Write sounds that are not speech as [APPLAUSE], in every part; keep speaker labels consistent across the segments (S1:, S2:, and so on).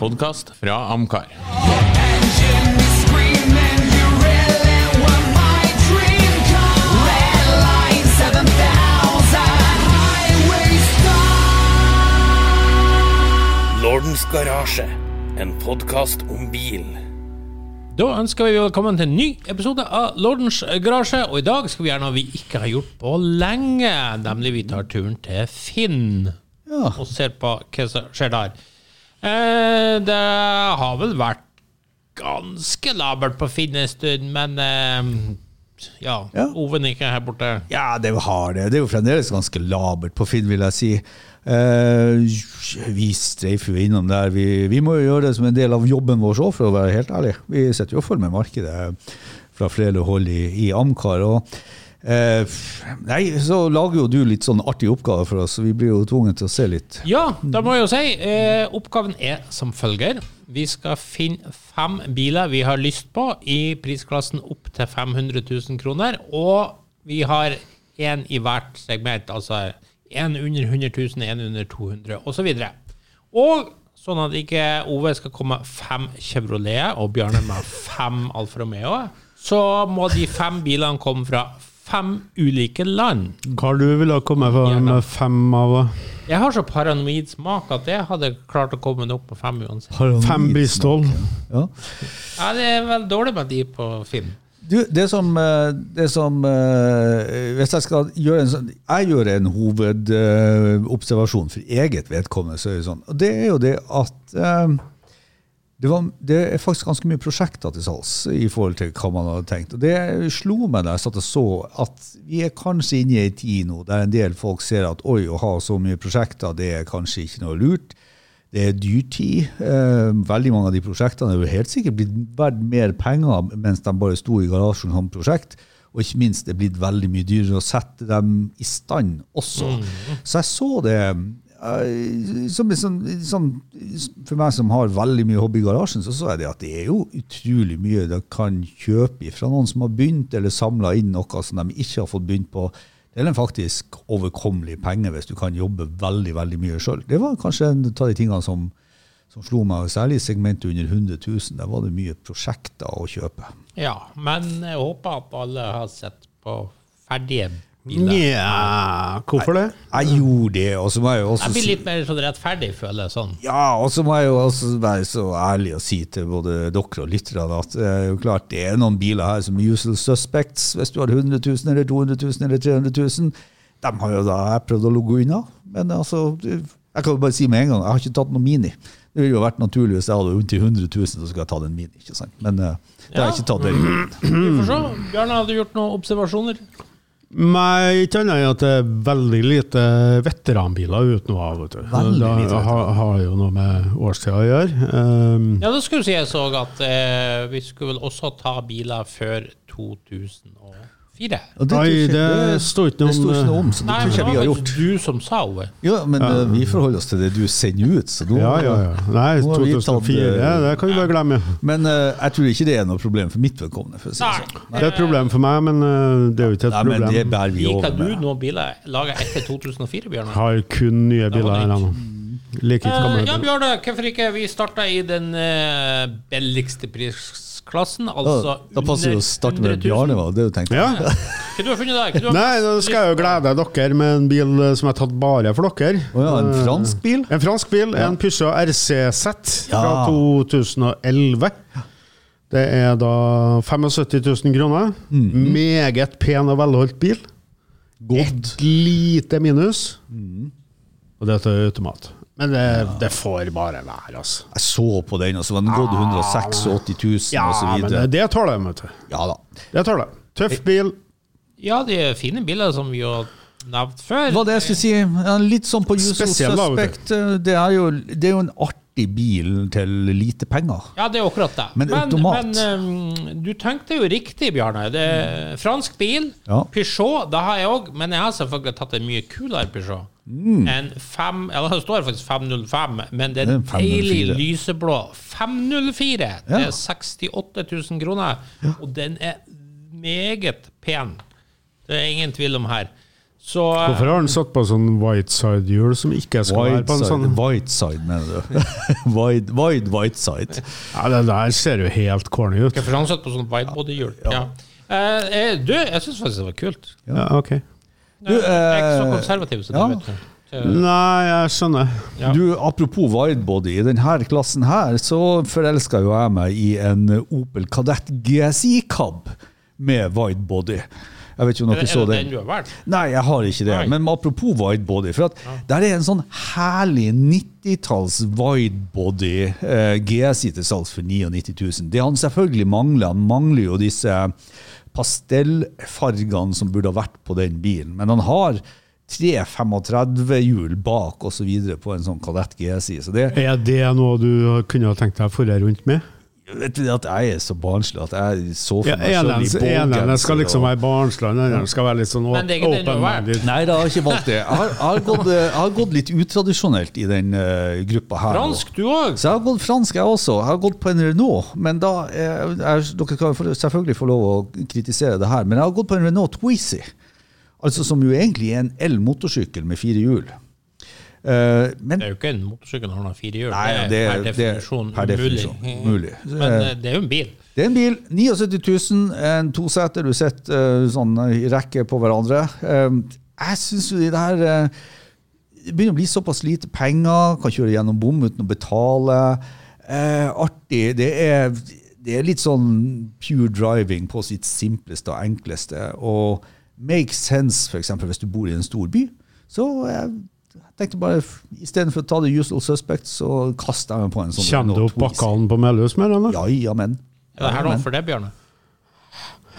S1: Podkast fra Amcar.
S2: Lordens Garasje, en podkast om bil.
S3: Da ønsker vi velkommen til en ny episode av Lordens garasje. Og i dag skal vi gjøre noe vi ikke har gjort på lenge, nemlig vi tar turen til Finn og ser på hva som skjer der. Eh, det har vel vært ganske labert på Finn en stund, men eh, ja,
S4: Ja.
S3: Oven ikke her borte.
S4: Ja, det har det. Det er jo fremdeles ganske labert på Finn, vil jeg si. Eh, vi streifer jo innom der. Vi, vi må jo gjøre det som en del av jobben vår òg, for å være helt ærlig. Vi sitter jo og følger med markedet fra flere hold i, i Amcar. og eh, Nei, så lager jo du litt sånn artige oppgaver for oss, så vi blir jo tvunget til å se litt.
S3: Ja, da må jeg jo si. Eh, oppgaven er som følger. Vi skal finne fem biler vi har lyst på i prisklassen opp til 500 000 kroner. Og vi har én i hvert segment, altså én under 100 000, én under 200 000 osv. Og sånn at ikke Ove skal komme med fem Chevroleter og Bjarne med fem Alfa Romeo, så må de fem bilene komme fra fem ulike land.
S5: Hva du ville komme for
S3: Gjerne.
S5: med fem av eh,
S3: Jeg har så paranoid smak at jeg hadde klart å komme opp på fem uansett.
S4: Sånn
S5: Fem Bristol.
S4: Ja.
S3: Ja, det er vel dårlig med de på Finn.
S4: Du, det som, eh, det som eh, Hvis jeg skal gjøre en sånn Jeg gjør en hovedobservasjon for eget vedkommende. Så er det, sånn. og det er jo det at eh, det, var, det er faktisk ganske mye prosjekter til salgs i forhold til hva man hadde tenkt. Og det slo meg da jeg satt og så at vi er kanskje inne i ei tid nå der en del folk ser at oi, å ha så mye prosjekter, det er kanskje ikke noe lurt. Det er dyrtid. Eh, veldig mange av de prosjektene er jo helt sikkert blitt verdt mer penger mens de bare sto i garasjen som prosjekt. Og ikke minst, det er blitt veldig mye dyrere å sette dem i stand også. Så jeg så det eh, som, en sånn- sånn- For meg som har veldig mye hobby i garasjen, så så jeg det at det er jo utrolig mye de kan kjøpe fra noen som har begynt eller samla inn noe som de ikke har fått begynt på til en faktisk overkommelig penge hvis du kan jobbe veldig veldig mye sjøl. Det var kanskje en av de tingene som, som slo meg, særlig i segmentet under 100 000. Der var det mye prosjekter å kjøpe.
S3: Ja, men jeg håper at alle har sett på ferdige biler.
S5: Nja, hvorfor det?
S4: Jeg gjorde det, og så må jeg jo også
S3: Jeg blir
S4: si-
S3: litt mer sånn rettferdig, føler jeg sånn.
S4: Ja, og så må jeg jo også være så ærlig og si til både dere og lytterne at det er jo klart det er noen biler her som er usual suspects. Hvis du har 100 000 eller 200 000 eller 300 000, dem har jo da jeg prøvd å logge unna. Men altså, du- jeg kan jo bare si med en gang, jeg har ikke tatt noen mini. Det ville jo vært naturlig hvis jeg hadde vondt i 100 000, så skulle jeg tatt en mini, ikke sant. Men eh, det har jeg ikke tatt. Det.
S3: Vi får se. Bjørn, har du gjort noen observasjoner?
S5: Nei, ikke annet enn at det er veldig lite veteranbiler ute nå. Vet du.
S4: Veldig
S5: det
S4: lite veteran.
S5: har, har jo noe med årstida å gjøre. Ehm,
S3: Ja, da skulle jeg si jeg så at eh, vi skulle vel også ta biler før 2004.
S4: Og
S5: Nei,
S4: tror jeg
S5: det står ikke eh, noe
S4: det står
S5: om-
S4: ikke noe om, så det
S3: Nei,
S4: tror
S3: men
S4: ikke
S3: det
S4: jeg vi
S3: var
S4: har gjort.
S3: faktisk du som sa, Ove.
S4: Ja, men eh, vi forholder oss til det du sender ut, så nå
S5: ja, ja, ja. Nei,
S4: Nå har vi tatt,
S5: 2004,
S4: eh,
S5: det kan du bare glemme.
S4: Men eh, jeg tror ikke det er noe problem for mitt vedkommende. For å si det sånn.
S3: Nei.
S5: Det er et problem for meg, men eh, det er jo ikke et
S4: Nei, men det
S5: problem.
S4: bærer vi
S3: Liker
S4: over
S3: du
S4: med.
S3: noen biler laget etter 2004, Bjørn?
S5: Har kun nye biler.
S3: var
S5: her
S3: det
S5: nå. Liker ikke
S3: Eh,
S5: gamle
S3: ja,
S5: biler.
S3: Bjørne, hvorfor ikke? Vi starta i den eh, billigste prisklassen, altså
S4: Da, da passer det å starte med
S3: 100 000.
S4: Bjarne, var det du tenkte?
S5: Ja.
S3: [LAUGHS] Hva du har funnet da? Hva du har-
S5: Nei, nå skal jeg jo glede dere med en bil eh, som er tatt bare for dere.
S4: Å ja, en fransk bil?
S5: En fransk bil, en Peugeot RC-Z fra
S4: Ja.
S5: 2011. Det er da 75 000 kroner. Meget pen og velholdt bil. Et lite minus. Og dette er automat. Men det, det får bare være, altså.
S4: Jeg så på den, og så var den gått 186 000
S5: Ja,
S4: og så
S5: men
S4: videre.
S5: det, det tar det, vet du.
S4: Ja da.
S5: Det tar det. Tøff bil.
S3: Ja, de er fine biler som vi har nevnt før.
S4: Hva det jeg skulle si? Ja, Litt sånn på usual
S5: Spesiell, da, vet
S4: suspect. eh, Det er, jo, det er jo en artig bil til lite penger.
S3: Ja, det er akkurat det.
S4: Men automat.
S3: men, eh, du tenkte jo riktig, Bjarne. Det er fransk bil.
S4: Ja.
S3: Peugeot, det har jeg òg, men jeg har selvfølgelig tatt en mye kulere Peugeot. En fem, eller det står faktisk 505, men det er en
S4: Mm. Det er en
S3: deilig
S4: 504.
S3: lyseblå 504. Det
S4: Ja.
S3: er 68 000 kroner, og den er meget pen. Det er ingen tvil om her. Så eh,
S5: Hvorfor har han satt på sånn whiteside-hjul som ikke skal være på en sånn
S4: Whiteside, Whiteside, mener du. [LAUGHS] Wide, wide Whiteside.
S5: Ja, Det der ser jo helt corny ut.
S3: Hvorfor har han satt på sånn widebody-hjul? Ja. Eh, eh, du, jeg syns faktisk det var kult.
S5: Ja, ok.
S3: Jeg er ikke så
S4: eh,
S3: konservativ som
S4: ja.
S3: du, vet du. Så-
S5: Nei, jeg skjønner.
S3: Ja.
S4: Du, Apropos widebody, i denne klassen her så forelska jo jeg meg i en Opel Kadett GSI Cab med widebody. Jeg vet ikke om
S3: Er
S4: dere
S3: det,
S4: så
S3: er det den
S4: den?
S3: du har valgt?
S4: Nei, jeg har ikke det.
S3: Nei.
S4: Men apropos widebody, for at der er en sånn herlig 90-talls widebody eh, GSI til salgs for 99 000. Det han selvfølgelig mangler, han mangler jo disse pastellfargene som burde ha vært på den bilen. Men han har tre 35-hjul bak osv. på en sånn Kadett GSI. Så det
S5: Er det noe du kunne ha tenkt deg å forre rundt med?
S4: vet du at jeg er så barnslig at jeg så for
S5: Ja,
S4: meg selv i
S5: Eneren Sånn skal liksom
S4: og-
S5: være barnslig, den andre skal være litt sånn
S3: Men det er ikke den du har
S5: open-minded.
S4: Nei, da har jeg ikke valgt det. Jeg har, jeg har, gått, eh, jeg har gått litt utradisjonelt i den eh, gruppa her. nå.
S3: Fransk, du òg!
S4: Så jeg har gått fransk, jeg også. Jeg har gått på en Renault. Men da, eh, jeg, dere skal få- selvfølgelig få lov å kritisere det her, men jeg har gått på en Renault Twizy. Altså Som jo egentlig er en el-motorsykkel med fire hjul. Eh, men
S3: Det er jo ikke en motorsykkel når den har fire hjul.
S4: Nei,
S3: det
S4: det
S3: er
S4: er-
S3: per
S4: det er
S3: definisjon
S4: per definisjon
S3: umulig.
S4: umulig.
S3: Men eh, det er jo en bil.
S4: det er en bil. 79 000, en toseter. Du sitter eh, sånn i rekke på hverandre. Eh, jeg syns jo de der eh, Det begynner å bli såpass lite penger, kan kjøre gjennom bom uten å betale. Eh, artig. Det er, det er litt sånn pure driving på sitt simpleste og enkleste. Og make sense, f.eks. hvis du bor i en stor by. Så jeg tenkte bare, istedenfor å ta the usual suspect, så kaster jeg meg på en sånn.
S5: Kjenner du opp
S4: Renault Twizy.
S5: bakkene på Melhus med den? da?
S4: Ja, ja, men.
S3: Er det her noe for deg, Bjørne?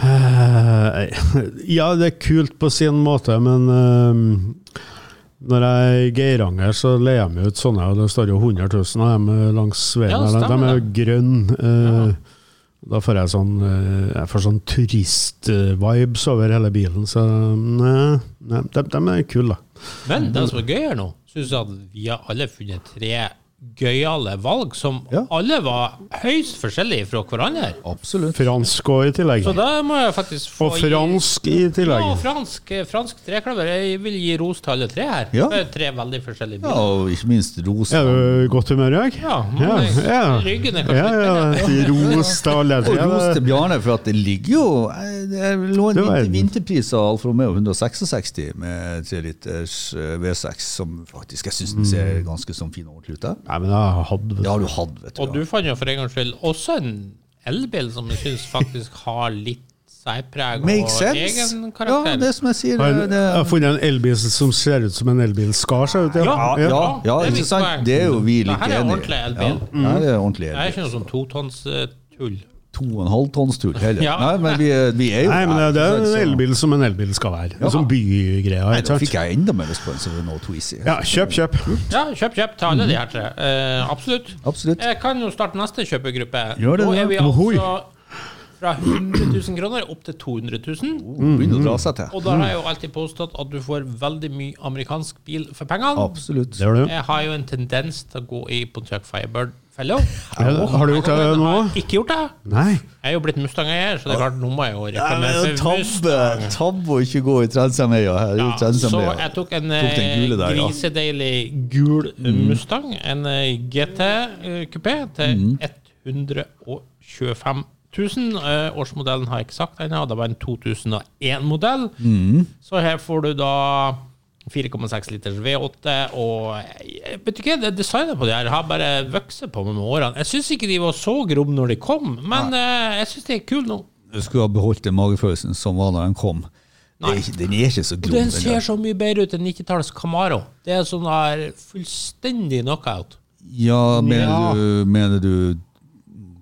S5: Eh, [LAUGHS] Ja, det er kult på sin måte, men eh, når jeg er i Geiranger, så leier jeg meg ut sånne, og det står jo 100 000 av dem eh, langs veien.
S3: Ja,
S5: her. de,
S3: stemmer
S5: er jo grønne. eh, Da får jeg sånn, eh, jeg får sånn turist-vibes over hele bilen, så mm, nei, nei de, de er kule, da.
S3: Men det som er gøyere nå, syns jeg at vi har alle funnet tre gøyale valg som
S4: Ja.
S3: alle var høyst forskjellige fra hverandre.
S4: Absolutt.
S5: Fransk òg i tillegg.
S3: Så da må jeg faktisk få
S5: Og
S3: gi-
S5: fransk i tillegg.
S3: Ja, og fransk, eh, fransk trekløver. Jeg vil gi ros til alle tre her.
S4: Ja.
S3: Det er tre veldig forskjellige
S4: Ja,
S3: biler.
S4: og ikke minst rosa.
S5: Er du i godt humør i dag?
S3: Ja, men ryggen er kanskje
S5: ja, ja, Ros til alle.
S4: Og ros til Bjarne for at det ligger jo eh, Det lå en
S5: Det var
S4: vinter,
S5: en-
S4: vinterpris av Alfa Romeo 166 med 3 liters eh, V6, som faktisk jeg syns den ser
S5: Mm.
S4: ganske sånn fin og ordentlig ut. eh.
S5: Nei, men jeg har hatt
S4: Det har du hatt, vet du.
S3: Og du fant jo for en gangs skyld også en elbil som jeg syns faktisk har litt særpreg og
S4: Make sense?
S3: egen
S4: Ja,
S3: karakter.
S4: det som jeg sier.
S5: Har
S4: eh, Det,
S5: jeg, jeg har funnet en elbil som ser ut som en elbil skal se ut.
S4: ja,
S3: Ja,
S4: ja,
S3: det
S4: ja,
S3: er mitt
S4: ikke sant?
S3: poeng.
S4: Det er jo vi
S3: Ja,
S4: like
S3: her er
S4: enige
S3: ordentlig
S4: Ja,
S3: elbil.
S5: Mm.
S4: her er ordentlig
S3: Jeg er
S4: elbil.
S3: ikke noe sånn totons eh, tull.
S4: To og en halv tonns tull heller.
S3: Ja.
S4: Nei, men vi, er- vi er jo
S5: Nei, men det, det
S4: ikke
S5: er
S4: sant,
S5: en
S4: så-
S5: elbil som en elbil skal være. En sånn bygreier.
S4: Nei, Da
S5: ikke
S4: fikk
S5: sant?
S4: jeg enda mer lyst på en sånn Renault Twizy.
S5: Ja, kjøp, kjøp.
S3: Ja, kjøp, kjøp. Ta alle de her tre. Eh, absolutt.
S4: Absolutt.
S3: Jeg kan jo starte neste kjøpegruppe.
S4: Gjør det,
S3: Nå
S4: ja.
S3: er vi
S5: Ohoi.
S3: altså fra 100 000 kroner opp til 200 000.
S4: Begynner å dra
S5: Mm.
S4: seg til.
S3: Og da har jeg jo alltid påstått at du får veldig mye amerikansk bil for pengene.
S4: Absolutt.
S5: Det gjør du.
S3: Jeg har jo en tendens til å gå i Pontiac Firebird Fellow.
S5: Har du gjort det nå?
S3: Jeg har ikke gjort det.
S5: Nei.
S3: Jeg er jo blitt Mustang-eier, så det er klart nå må jeg jo
S4: Ja, men
S3: reklamere for Mustang.
S4: Tabbe tabbe å ikke gå i Trensameia her. Ja,
S3: Ja, så jeg tok en eh,
S4: Tok den gule der, ja. Mm.
S3: grisedeilig gul eh, Mustang, en eh, GT-kupé, eh, til
S4: Mm.
S3: 125 000. Eh, Årsmodellen har jeg ikke sagt ennå, det var en 2001-modell.
S4: Mm.
S3: Så her får du da 4,6 liters V8, og jeg vet ikke, det designet på de her har bare vokst på meg med årene. Jeg syns ikke de var så grobe når de kom, men eh, jeg syns de er kule nå.
S4: Du skulle ha beholdt den magefølelsen som var da den kom. Det er ikke- Den er ikke så grov.
S3: Den
S4: den
S3: ser
S4: der.
S3: så mye bedre ut enn 90-tallets Camaro. Det er sånn der fullstendig knockout.
S4: Ja, mener,
S5: Ja.
S4: Du, mener du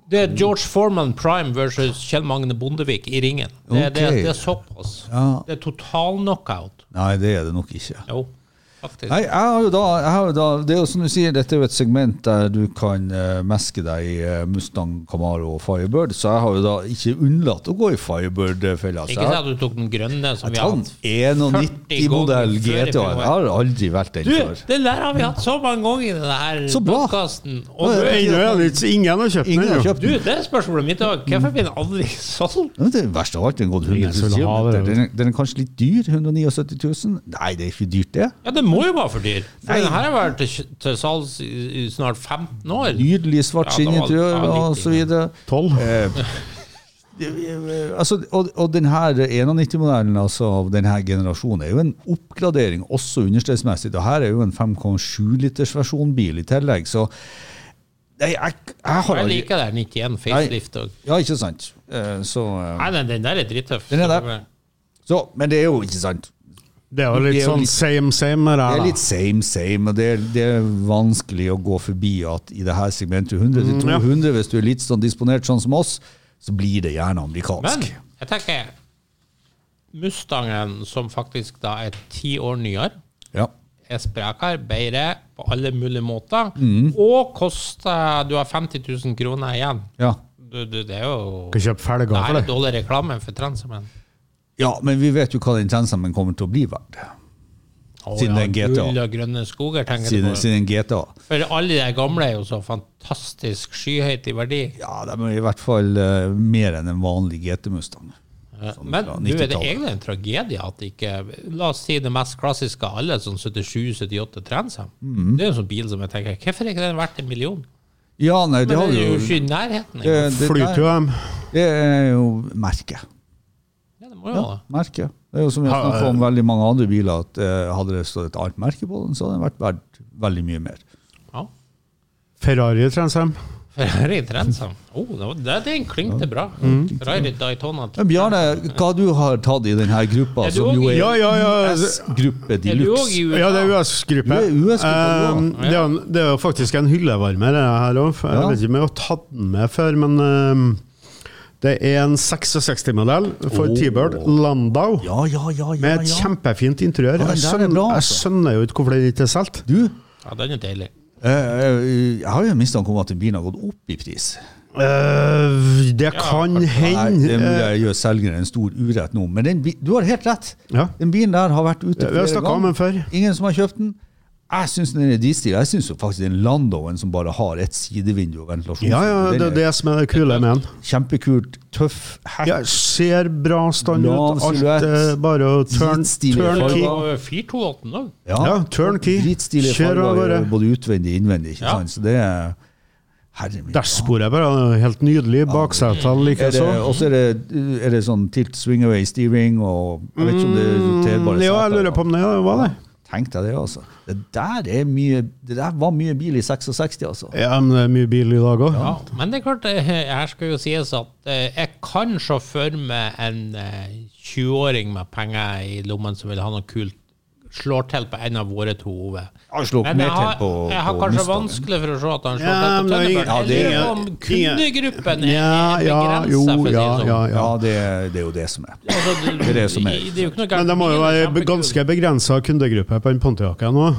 S3: Det
S4: Mm.
S3: er George Foreman Prime versus Kjell Magne Bondevik i ringen. Det, det,
S4: Ok.
S3: det er såpass.
S4: Ja.
S3: Det er total knockout.
S4: Nei, det er det nok ikke.
S3: Jo. faktisk.
S4: Nei, jeg har jo da, jeg har jo da Det er jo som du sier, dette er jo et segment der du kan eh, meske deg i eh, Mustang, Camaro og Firebird, så jeg har jo da ikke unnlatt å gå i eh, Firebird-fella.
S3: Ikke si at du tok den grønne som vi har hatt.
S4: Jeg tar en E
S3: 40
S4: 91-modell
S3: ganger før i
S4: GT. Jeg har aldri vært den
S3: Du,
S4: før.
S3: den der har vi hatt så mange ganger i denne her
S4: Så bra.
S3: podkasten.
S4: Ja, ja.
S5: Ennå er det ikke ingen har kjøpt
S4: Ingen
S5: den.
S4: har
S5: ennå.
S4: kjøpt
S3: Du, det er spørsmålet mitt òg. Hvorfor blir den aldri [LAUGHS] solgt?
S4: Men Det er verst av alt, den har gått 100
S5: Ingen som
S4: 000
S5: vil ha
S4: kilometer.
S5: det,
S4: Den, er- den er kanskje litt dyr, 179 000? Nei, det er ikke dyrt, det.
S3: Ja, den må jo være for dyr. For den her har vært til, til salgs i i snart 15 år.
S4: Nydelig svart
S3: Ja, da var-
S4: skinninteriør
S3: ja,
S4: og
S3: litt
S4: så videre.
S5: Tolv.
S4: Eh, altså, og, og den her 91-modellen altså, av denne generasjonen er jo en oppgradering også understedsmessig. Det her er jo en 5,7 liters versjonbil i tillegg, så Nei, jeg, jeg har
S3: Jeg liker den 91 facelift òg.
S4: Ja, ikke sant. Eh, så, eh,
S3: Nei, den, den der er drittøff.
S4: Den er der. så Men det er jo ikke sant.
S5: Det er jo
S4: Det er
S5: litt
S4: jo
S5: sånn
S4: litt-
S5: same, same med
S4: Det er
S5: det.
S4: litt same, same. og Det er, det er vanskelig å gå forbi at i det her segmentet 100 til
S5: Mm, ja.
S4: 200, hvis du er litt sånn disponert sånn som oss, så blir det gjerne
S3: Men
S4: amerikansk.
S3: jeg tenker Mustangen, som faktisk da er ti år nyere,
S4: Ja.
S3: er sprekere, bedre på alle mulige måter,
S4: Mm.
S3: og koster Du har 50 000 kroner igjen.
S4: ja.
S3: Du, du, det er jo
S5: Kan kjøpe
S3: Det
S5: felger
S3: her
S5: for
S3: er
S5: det.
S3: dårlig reklame for Transamen.
S4: Ja, men vi vet jo hva den Transamen kommer til å bli verdt.
S3: Å,
S4: Siden det er GTA.
S3: Gull og grønne skoger, tenker
S4: Siden,
S3: du på.
S4: siden GTA.
S3: For alle de gamle er jo så fantastisk skyhøyt i verdi.
S4: Ja, de er i hvert fall eh, mer enn en vanlig GT-Mustang.
S3: Ja, Men
S4: fra
S3: du, er det
S4: 90-tallet.
S3: egentlig en tragedie at ikke La oss si det mest klassiske av alle, sånn 77-78 Transam. Det er jo en sånn bil som jeg tenker Hvorfor er ikke den verdt en million?
S4: Ja, nei, det
S3: Men
S4: har
S3: den
S4: vi
S3: er jo
S4: jo
S3: ikke i nærheten
S4: det,
S3: engang.
S4: det,
S5: Flyter jo dem.
S4: det er jo merket.
S3: Ja, eh, det må jo være det.
S4: Merket. Det er jo som vi har
S5: Ha,
S4: snakket om veldig mange andre biler, at eh, hadde det stått et annet merke på den, så hadde den vært verdt veldig mye mer.
S3: Ja.
S5: Ferrari Transam.
S3: Ferrari Transam. Oh, det var- det, den klingte bra. Ferrari Daytona.
S4: Men Bjarne, hva du har tatt i denne gruppa,
S3: Er du
S4: som jo
S3: også-
S4: er
S5: Ja, ja, ja.
S4: S-gruppe de
S3: Er du òg i
S4: luxe?
S5: Ja,
S3: USA?
S5: det er US-gruppe.
S4: Det er US-gruppe,
S5: Um,
S3: ja.
S5: det, er en- det er jo faktisk en hyllevarmer, det her òg. Jeg
S4: Ja.
S5: vet ikke om jeg har tatt den med før, men um, det er en 66-modell for
S4: Åh.
S5: T-Bird Landau.
S4: Ja, ja, ja. ja,
S5: Med et
S4: ja.
S5: kjempefint interiør.
S4: Ja, den
S5: Jeg
S4: der er
S5: skjønner,
S4: bra,
S5: jeg
S4: altså.
S5: skjønner jo ikke hvorfor den ikke er solgt.
S4: Du,
S3: Ja, den er deilig.
S4: Eh, eh, Jeg har jo en mistanke om at den bilen har gått opp i pris.
S5: Eh, det kan
S4: Nei,
S5: hende
S4: det
S5: eh,
S4: mulig jeg gjør selgeren en stor urett nå, men den, bi- du har helt rett.
S5: Ja.
S4: Den bilen der har vært ute
S5: Vi har snakket om den før.
S4: Ingen som har kjøpt den. Jeg syns den er distil. Jeg syns faktisk den Landoen som bare har ett sidevindu og ventilasjon,
S5: Ja, ja, det er
S4: den er
S5: det som er det kule med den.
S4: kjempekult, tøff, hack,
S5: Ja, ser bra stand
S4: Lav
S5: ut. Alt
S4: silhuett.
S5: er bare å turn,
S4: Dritstilig
S5: turn
S4: farger.
S5: key.
S3: Og 428 òg.
S5: ja, turnkey.
S4: Dritstilige
S5: Kjør av
S4: farger
S5: gårde.
S4: både utvendig og innvendig, ikke
S3: Ja.
S4: sant. Så det er Herre min.
S5: Dashbordet er bare helt nydelig. Baksetene
S4: Er det-
S5: likeså.
S4: Og så er, det- er det sånn tilt swing away steering og Jeg vet ikke om det er roterbare
S5: Mm, Ja, jeg lurer på om det var det.
S4: Tenk deg det, altså. Det der, er mye, det der var mye bil i 66, altså.
S5: Ja, men det er mye bil i dag òg.
S3: Ja, men det er klart, eh, her skal jo sies at eh, jeg kan se for meg en eh, 20-åring med penger i lommen som vil ha noe kult, slår til på en av våre to hoder.
S4: Jeg slår
S3: Men jeg
S4: mer til
S3: har,
S4: på,
S3: jeg har
S4: på
S3: kanskje
S4: Mustangen.
S3: vanskelig for å se at han slår
S5: Ja,
S3: til
S5: men
S3: på
S5: det er ingen-
S3: Tønneberg.
S4: ja, det
S3: Jeg
S4: er-
S3: lurer på om
S5: ingen-
S3: kundegruppen er,
S5: Ja,
S3: er
S5: ja,
S3: begrenset,
S5: jo,
S3: for å si det
S5: ja,
S3: sånn.
S5: ja,
S4: Ja,
S5: ja.
S4: det, det er jo det som er.
S3: Altså, det,
S4: er det som er.
S3: i- jo ikke noe
S5: Men
S3: gærent.
S5: det må jo
S3: Bilen er
S5: være be-
S3: kjempekul.
S5: ganske begrensa kundegruppe på den Pontiacen òg.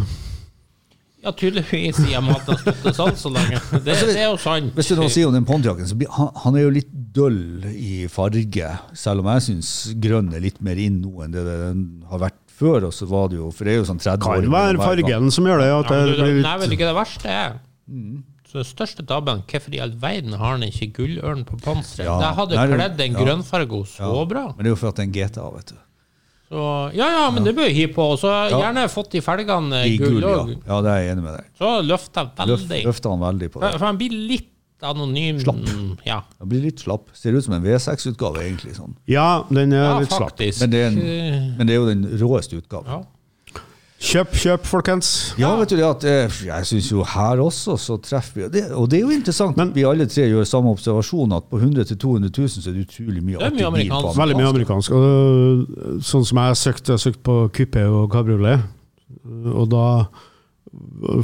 S3: Ja, tydeligvis, i og med at den har stått til salg så
S4: [LAUGHS]
S3: lenge. Det, det er jo sant.
S4: Altså, Hvis du nå sier om den Pontiacen, så blir han, han er jo litt døll i farge. Selv om jeg syns grønn er litt mer inn nå enn det den har vært før. Og så var det jo, for det er jo sånn 30 år
S5: Kan
S4: mellom hver
S5: være
S4: gang.
S5: fargen som gjør det. At
S3: Ja, men
S5: det
S3: du,
S5: blir
S3: Nei, vet
S5: litt
S3: du ikke det verste er Så den største tabben Hvorfor i all verden har han ikke gullørn på panseret?
S4: Ja,
S3: Det hadde
S4: nei, det-
S3: kledd en
S4: ja.
S3: grønnfarge så
S4: Ja.
S3: bra.
S4: Men det er jo for at det er en GTA, vet du.
S3: Så, ja, ja, men det bør jeg hive på. Og så gjerne fått de felgene eh,
S4: I
S3: gull
S4: gull, ja.
S3: også.
S4: ja. Det er jeg enig med deg.
S3: Så løfter jeg
S4: Løft,
S3: veldig.
S4: løfter han veldig på det.
S3: For, for han blir litt anonym.
S4: Slapp.
S3: Ja,
S4: Han blir litt slapp. Ser ut som en V6-utgave, egentlig. sånn.
S5: Ja, den
S3: ja
S5: er litt slapp.
S3: faktisk.
S4: Men det, er en,
S3: Eh,
S4: men det er jo den råeste utgaven.
S3: ja.
S5: Kjøp, kjøp, folkens.
S4: Ja, vet du det at eh, Jeg syns jo her også så treffer vi og det, Og det er jo interessant at vi alle tre gjør samme observasjon, at på 100 000-200 000 så er det utrolig mye
S3: Det er mye
S4: artig bil på
S3: amerikansk.
S5: Veldig mye amerikansk. Og øh, sånn som jeg har søkt, jeg har søkt på kupé og kabriolet, eh, og da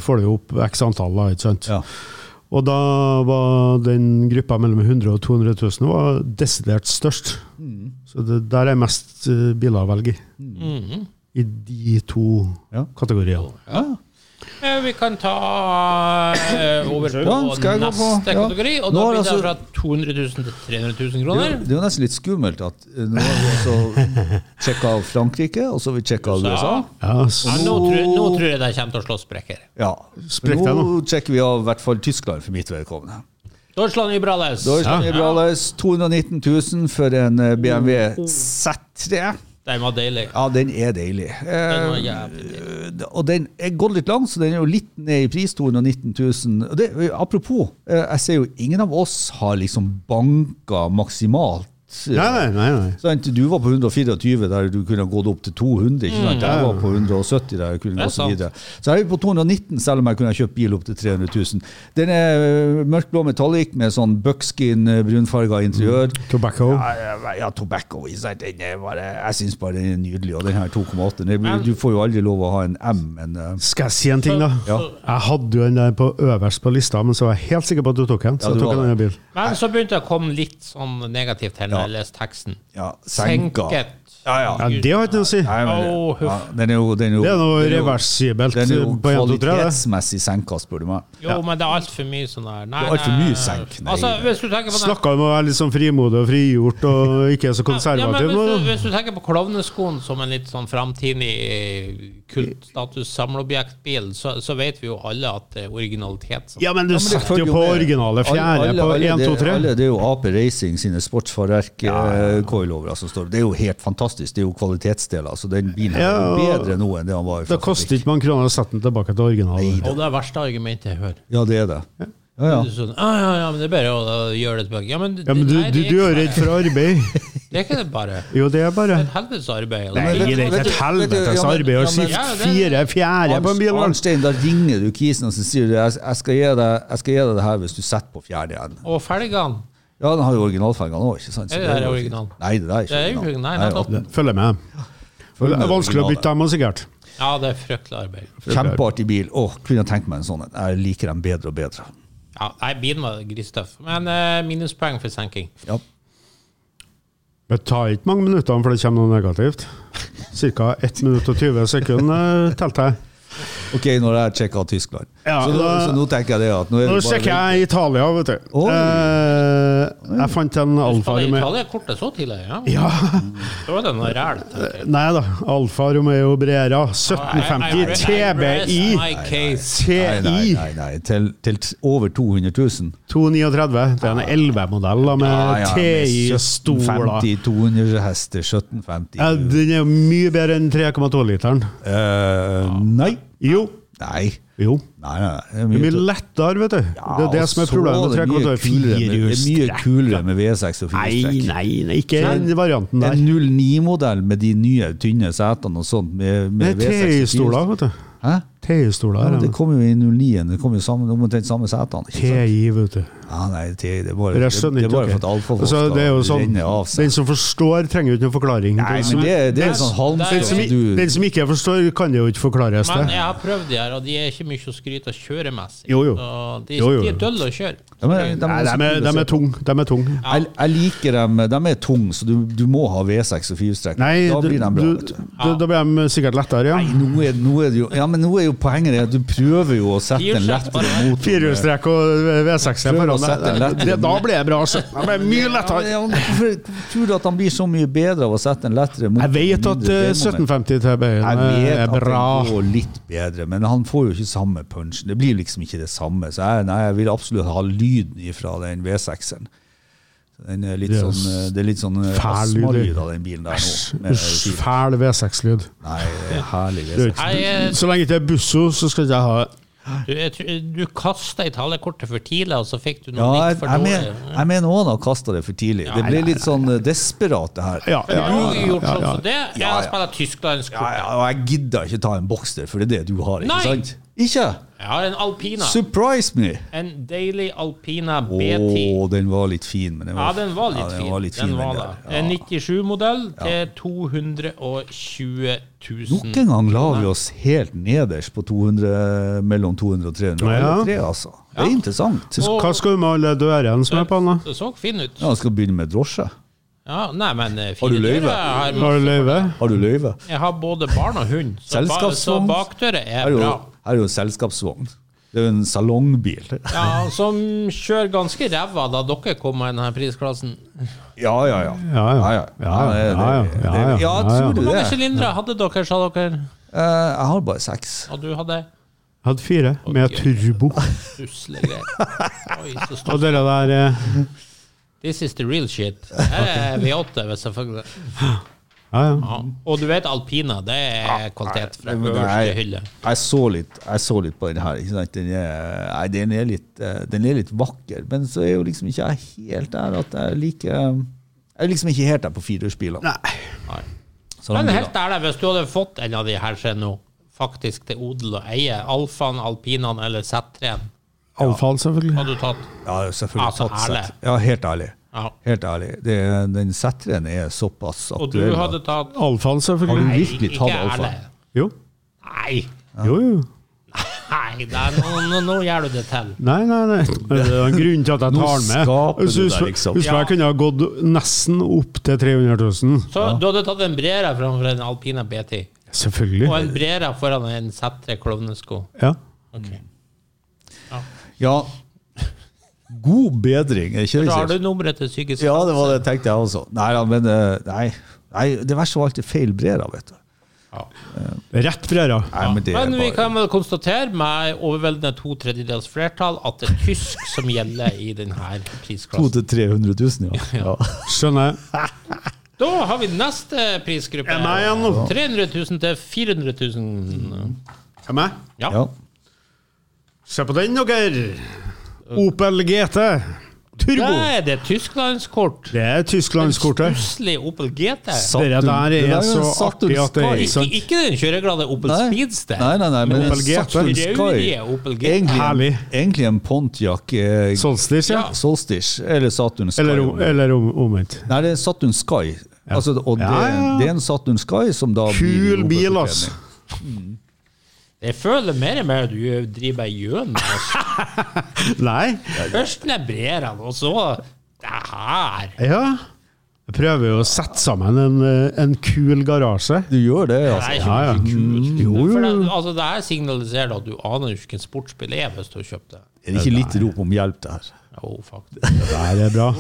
S5: får du jo opp x antall, da, ikke sant.
S4: Ja.
S5: Og da var den gruppa mellom 100 000 og 200 000
S4: Mm.
S5: var desidert størst. Så det der er mest øh, biler å eh, velge i.
S3: Mhm.
S5: i de to
S4: Ja.
S5: kategoriene.
S4: Ja.
S3: Eh, Vi kan ta eh, over på
S4: Ja, skal jeg gå på?
S3: neste
S4: Ja.
S3: kategori. Og da
S4: Nå har
S3: blir det
S4: altså-
S3: fra 200 000 til 300 000
S4: Det er
S3: kroner.
S4: jo- det er jo nesten litt skummelt at eh, nå har vi altså sjekka av Frankrike, og så har vi sjekka av USA.
S3: Ja.
S5: Ja, s-
S3: Ja, nå, tror, nå tror jeg de kommer til å slå sprekker.
S4: Ja.
S5: Sprekk
S4: Men
S5: deg
S4: nå
S5: nå.
S4: sjekker vi av i hvert fall Tyskland for mitt vedkommende.
S3: Deutschland i Brales.
S4: Da er det bra, Lars. 219 000 for en eh, BMW
S3: Mm.
S4: Z3.
S3: Den var deilig.
S4: Ja, den er deilig.
S3: Den var
S4: Eh,
S3: jævlig deilig.
S4: og den er gått litt langt, så den er jo litt ned i pris. 219 000. Og det, apropos, eh, jeg ser jo ingen av oss har liksom banka maksimalt.
S5: Nei, nei, nei. nei.
S4: Sant? Du var på 124 der du kunne gått opp til 200. Ikke sant? Jeg var på 170 der jeg kunne
S3: Mm. Det er
S4: gått så
S3: sant.
S4: videre. Så jeg er på 219 selv om jeg kunne ha kjøpt bil opp til 300 000. Den er øh, mørkblå metallic med sånn buckskin øh, brunfarga interiør.
S3: Mm.
S5: Tobacco.
S4: Ja, ja, ja, tobacco. ikke sant? Den er bare, jeg syns bare den er nydelig. Og den her 2,8. den blir- Du får jo aldri lov å ha en M, men øh,
S5: Skal jeg si en ting, da?
S4: Ja.
S5: Jeg hadde jo den der på øverst på lista, men så var jeg helt sikker på at du tok den.
S4: Ja, du
S5: Så jeg tok
S4: var
S5: en
S4: det.
S5: annen bil.
S3: Men så begynte jeg å komme litt sånn negativt til når
S4: Ja.
S3: jeg leste teksten.
S4: ja, senka.
S3: Ja,
S5: Ja, det har ikke noe å si.
S4: Nei, men,
S3: Åh, huff.
S4: ja, den er jo, den er jo,
S5: Det er noe
S4: den er jo-
S5: reversibelt
S4: Den er jo
S5: på 1, 2, 3. Det.
S4: kvalitetsmessig senka, spør du meg.
S3: Jo, men det er altfor mye sånn der. Nei,
S4: Det er alt for
S3: nei.
S4: mye senk. Nei,
S3: Altså,
S4: det-
S3: hvis du tenker på den
S5: Snakka om å være litt sånn frimodig og frigjort og ikke
S3: ja,
S5: så
S3: men
S5: konservativ.
S3: hvis,
S5: nå.
S3: du, hvis du tenker på klovneskoen som en litt sånn framtidig kultstatus-samleobjektbil, så, så vet vi jo alle at det er originalitet. som-
S5: Ja, men du
S4: Ja, men det
S5: satt
S4: følger
S5: jo på
S4: med.
S5: originale fjerde
S4: Alle-
S5: på
S4: alle-
S5: 1, 2,
S4: det-
S5: 3.
S4: Alle, det er jo AP Racing sine sportsfarverk-coilovere som står Det er jo helt fantastisk. Det er jo kvalitetsdeler. Så den bilen her er jo
S5: Ja, og
S4: bedre nå enn det han var i
S5: Da
S4: fabrikken.
S5: koster ikke man kroner å sette den tilbake til originalen.
S3: Og det er verste argumentet jeg hører.
S4: Ja, det er det. Ja, ja.
S3: Du er Sånn, ah, ja, ja, men det er bare å da gjøre det tilbake. Ja, men,
S5: Ja, men du,
S3: nei,
S5: du,
S3: det er
S5: du
S3: ikke
S5: er
S3: bare-
S5: redd for arbeid.
S3: Det er ikke det bare.
S5: Jo, det er bare
S3: Det er et helvetes arbeid.
S5: Nei,
S3: eller?
S5: det er ikke et helvetes arbeid å skifte
S3: Ja, det-
S5: fire fjerde på en bil. vel?
S4: Arnstein, da ringer du Kisen og så sier du, jeg, jeg, skal gi deg, jeg skal gi deg det her hvis du setter på fjerde igjen.
S3: Og felgene.
S4: Ja, den har jo originalfargene òg, ikke sant? Så
S3: Er det
S4: er
S3: der
S4: jo
S3: original?
S4: fint. Nei, det der er
S3: Det er
S4: ikke
S3: jo
S4: original.
S3: ikke- nei,
S4: Nei,
S3: nettopp.
S5: Følger med. Det er vanskelig å bytte dem, også, sikkert.
S3: Ja, det er fryktelig arbeid.
S4: Kjempeartig bil. Åh, kunne jeg tenkt meg en sånn en. Jeg liker dem bedre og bedre.
S3: Ja, nei, bilen var grisetøff. Men eh, minuspoeng for senking.
S4: Ja.
S5: Det tar ikke mange minuttene før det kommer noe negativt. Ca. 1 minutt og 20 sekunder eh, telte jeg.
S4: Ok, når jeg sjekka Tyskland.
S5: Ja,
S4: så, nå,
S5: da-
S4: så nå tenker jeg det at nå er
S5: Nå
S4: det
S5: sjekker jeg Italia, vet du.
S4: Oi.
S5: Eh, jeg fant en Alfa
S3: Faen,
S5: Romeo
S3: Italia er kortet så tidlig, ja.
S5: Ja,
S3: Da var det noe ræl. tenker jeg.
S5: Nei da. Alfa Romeo Brera
S3: I- I- I
S5: 1750
S3: rest
S5: TBI.
S3: my case.
S4: Nei, nei,
S5: TI
S4: nei, nei. Til, til t- over 200 000.
S5: 239. Det er en 11-modell da, med TI-stoler.
S4: 1750, 200 hester, 1750
S5: Ja, den er jo mye bedre enn 3,2-literen.
S4: Eh, Nei.
S5: Jo.
S4: Nei.
S5: Jo.
S4: Nei, nei, nei.
S5: Det er mye lettere, vet du. Det er det
S4: og
S5: som er
S4: så
S5: problemet
S4: er det
S5: med
S4: mye kulere med- Det er mye
S5: 3,2-firehjulstrekk.
S4: kulere med V6 og
S5: Nei,
S4: firestrekk.
S5: nei, nei, ikke den varianten der.
S4: En 09-modell med de nye, tynne setene og sånt med,
S5: Det
S4: med
S5: er
S4: V6 og
S5: TI-stoler, vet du.
S4: firestrekk. Hæ? Ja,
S5: TI-stoler.
S4: men
S5: her,
S4: det
S5: ja.
S4: kom jo i 09-en. Det kom jo sammen, omtrent samme setene. ikke sant?
S5: TI, vet du.
S4: Ja, nei, det, det er bare,
S5: For
S4: det,
S5: jeg skjønner
S4: det er
S5: ikke
S4: bare for at
S5: dere.
S4: alfafolk
S5: Altså, det er jo
S4: skal
S5: sånn,
S4: renne av seg.
S5: Den som forstår, trenger jo ikke noen forklaring.
S4: Nei,
S5: Den som-
S4: men det, det
S3: Den
S4: er sånn
S5: den, som,
S4: halmstrå
S5: i-
S4: du
S5: den som ikke forstår, kan jo ikke forklares
S3: Men
S5: det.
S3: jeg har prøvd de her, og de er ikke mye å skryte av kjøremessig.
S5: Jo, jo.
S3: Så De,
S5: Jo, jo.
S3: de er dølle å kjøre.
S4: Ja, men de
S5: Nei,
S4: er så
S5: de er,
S4: kule å
S5: de
S4: se
S5: er
S4: på.
S5: tung. De er tung.
S4: Jeg, jeg liker dem. De er tunge, så du, du må ha V6 og firestrekk.
S5: Nei,
S4: Da
S5: du,
S4: blir de bra.
S5: du,
S4: vet du.
S5: da- da blir de sikkert lettere, ja.
S4: Nei, nå er, nå er det jo, ja, men nå er jo poenget det at du prøver jo å sette en
S3: Firestrekk
S4: lettere
S3: bare.
S4: motor.
S5: Firehjulstrekk og V6 er
S4: Prøver å
S5: foran
S4: sette en
S5: deg.
S4: lettere-
S5: Det- Da blir det bra. altså. Det blir mye
S4: Ja, men,
S5: lettere.
S4: ja, men Hvorfor hvorfor tror du at han blir så mye bedre av å sette en lettere motor?
S5: Jeg vet
S4: og
S5: at
S4: mindre
S5: eh,
S4: V-moment?
S5: 1750 TBI
S4: Jeg vet
S5: eh, er
S4: at
S5: bra.
S4: den går litt bedre, men han får jo ikke samme punchen. Det blir liksom ikke det samme. Så jeg, nei, jeg vil absolutt ha lyden ifra den V6-en. Så Den er litt
S5: Det er
S4: sånn, eh, det er litt sånn eh,
S5: fæl lyd.
S4: astmalyd av den bilen der nå. med
S5: Usj,
S4: fire-
S5: Fæl V6-lyd.
S4: Nei, det er herlig
S5: Det er
S4: V6.
S3: Jeg, eh,
S5: Så lenge det er busso, så skal ikke jeg ha det.
S3: Du, jeg tror- du kasta Italia-kortet for tidlig, og så fikk du noe
S4: Ja, jeg,
S3: litt for
S4: jeg,
S3: dårlig.
S4: mener, jeg mener også han har kasta det for tidlig. Det ble litt sånn eh, desperat, det her.
S5: Ja, ja,
S3: Du har
S5: ja,
S3: gjort
S5: ja,
S3: sånn
S5: ja.
S3: som det. Jeg
S4: Ja,
S3: har
S4: ja.
S3: spilt tysklandsk
S4: Ja,
S3: kort.
S4: ja, og jeg gidder ikke ta en bokster, for det er det du har, ikke
S3: Nei.
S4: sant? Ikke?
S3: Jeg har en Alpina.
S4: Surprise me!
S3: En deilig Alpina
S4: Å,
S3: BT.
S4: den var litt fin. Men den
S3: Ja,
S4: var,
S3: den var litt
S4: ja,
S3: fin.
S4: den var litt fin,
S3: den var
S4: den
S3: da.
S4: der.
S3: En 97-modell til 220 000.
S4: Nok en gang la vi oss helt nederst på 200, mellom 200 og 300.
S5: Ja.
S4: Tre, altså. Det er interessant.
S5: Hva skal du med alle dørene som er på den? da?
S3: Det så fin ut.
S4: Ja, jeg skal begynne med drosje.
S3: Ja. Ja, nei, men eh,
S4: Har du
S3: fine
S4: løyve?
S3: dører. Jeg har,
S5: Har du løyve?
S4: Har du løyve?
S3: jeg har både barn og hund, så, ba, så
S4: Selskapsvogn.
S3: bakdøra
S4: Her
S3: er
S4: er jo,
S3: bra.
S4: her er jo selskapsvogn. Det er jo en salongbil.
S3: Ja, Som kjører ganske ræva da dere kom med denne prisklassen.
S4: Ja, ja, ja.
S5: Ja, ja. Ja,
S4: det- det-
S5: ja, ja.
S4: det-
S5: Ja, ja.
S4: Ja, tror du
S3: Hvor mange
S4: det?
S3: sylindere hadde dere, sa dere?
S4: Eh, Jeg har bare seks.
S3: Og du hadde
S5: Hadde fire, med turbo.
S4: [LAUGHS]
S3: Suslegreier. Oi, så stort.
S5: Og dere der eh,
S3: This is the real shit. Her er V8, hvis jeg får
S5: Ja, ja.
S3: ja. Og du vet alpina, det er kvalitet fra
S4: men
S3: øverste
S4: nei.
S3: hylle.
S4: Jeg så litt, jeg så litt på den her. Ikke sant? Den, er, nei, den, er litt, eh, den er litt vakker, men så er jo liksom ikke jeg helt der at jeg liker Jeg er liksom ikke helt der på firehjulsbilene.
S5: Nei.
S3: Men
S4: Salongbiler.
S3: helt ærlig, hvis du hadde fått en av de her se nå, faktisk til odel og eie, Alfaen, Alpinaen eller Z3-en,
S5: Alfal, selvfølgelig.
S3: hadde du tatt?
S4: Ja, selvfølgelig.
S3: Altså,
S4: tatt
S3: ærlig.
S4: sett. Ja, helt ærlig.
S3: Ja.
S4: Helt ærlig. Det, den setteren er såpass
S3: Og du
S4: aktuell. at-
S3: hadde tatt
S5: Alfal,
S4: Har du
S5: selvfølgelig.
S4: virkelig tatt
S3: ikke
S4: alfa?
S3: ærlig.
S5: Jo.
S3: Nei,
S5: Jo, jo.
S3: nei, det er, nå, nå, nå gjør du det til.
S5: Nei, nei,
S4: [LAUGHS]
S5: nei. Det er en grunn til at jeg
S4: Nå
S5: tar den med.
S4: skaper du
S5: Husk-
S4: deg, liksom.
S5: Husk jeg kunne ha gått nesten opp til 300 000.
S3: Så du hadde tatt en Brera framfor en Alpina BT, og
S5: Selvfølgelig.
S3: en Brera foran en Z3 klovnesko.
S5: Ja.
S3: Ok.
S4: Ja. God bedring, er ikke det?
S3: Da har
S4: Kjersti?
S3: du nummeret til psykisk
S4: Ja, det var det jeg tenkte jeg også. Nei da, men eh, nei. nei. Det verste var alltid feil brera, vet du.
S5: Rett brera.
S4: Nei, men det
S3: Men
S4: er
S3: vi
S4: bare-
S3: kan vel konstatere med overveldende to tredjedels flertall at det er tysk som gjelder i denne
S4: 2
S3: prisklassen.
S4: til 300 000, ja. ja.
S5: Skjønner jeg.
S3: Da har vi neste prisgruppe.
S5: Er meg igjen nå.
S3: 300 000 til 400 000.
S5: Er meg?
S3: Ja.
S4: ja.
S5: Se på den, dere! Opel GT. Turbo.
S3: Da er det tysklandskort.
S5: Det er Tysklandskortet.
S3: Stusslig Opel GT.
S5: Dere der
S4: Det
S5: er
S4: jo
S5: så
S4: en Saturn
S5: artig at det er
S4: Sky.
S5: ikke sant.
S3: Ikke, ikke den kjøreglade Opel
S4: sånn- Nei.
S3: Speedster.
S4: Nei, nei, nei, men
S5: Opel
S4: en
S5: GT.
S4: Saturn Sky.
S3: Raurige Opel GT.
S4: Egentlig,
S5: Herlig.
S4: egentlig en Pontiac eh,
S5: Solstice, ja.
S3: Ja.
S4: Solstice, eller Saturn Sky.
S5: Eller, om- eller om- omvendt.
S4: Nei, det er Saturn Sky. Altså, og det,
S5: Ja, ja, ja.
S4: det er en Saturn Sky som da blir
S5: Kul
S4: i
S5: bil,
S4: hovedbekledning.
S5: ass.
S3: Jeg føler mer og mer at du driver deg gjennom. altså.
S5: Nei.
S3: Først den Breraen, og så det her.
S5: Ja. Jeg prøver jo å sette sammen en, eh, en kul garasje.
S4: Du gjør det,
S3: Det
S4: altså.
S3: er
S5: Ja, ja.
S3: kjempekult.
S5: Jo, jo,
S3: For det,
S5: jo.
S3: altså, det her signaliserer at du aner jo ikke hvilken sportsbil det er hvis du har kjøpt det.
S4: Er det ikke litt rop om hjelp der?
S3: Jo, faktisk.
S5: Det der
S4: [LAUGHS]
S5: er bra.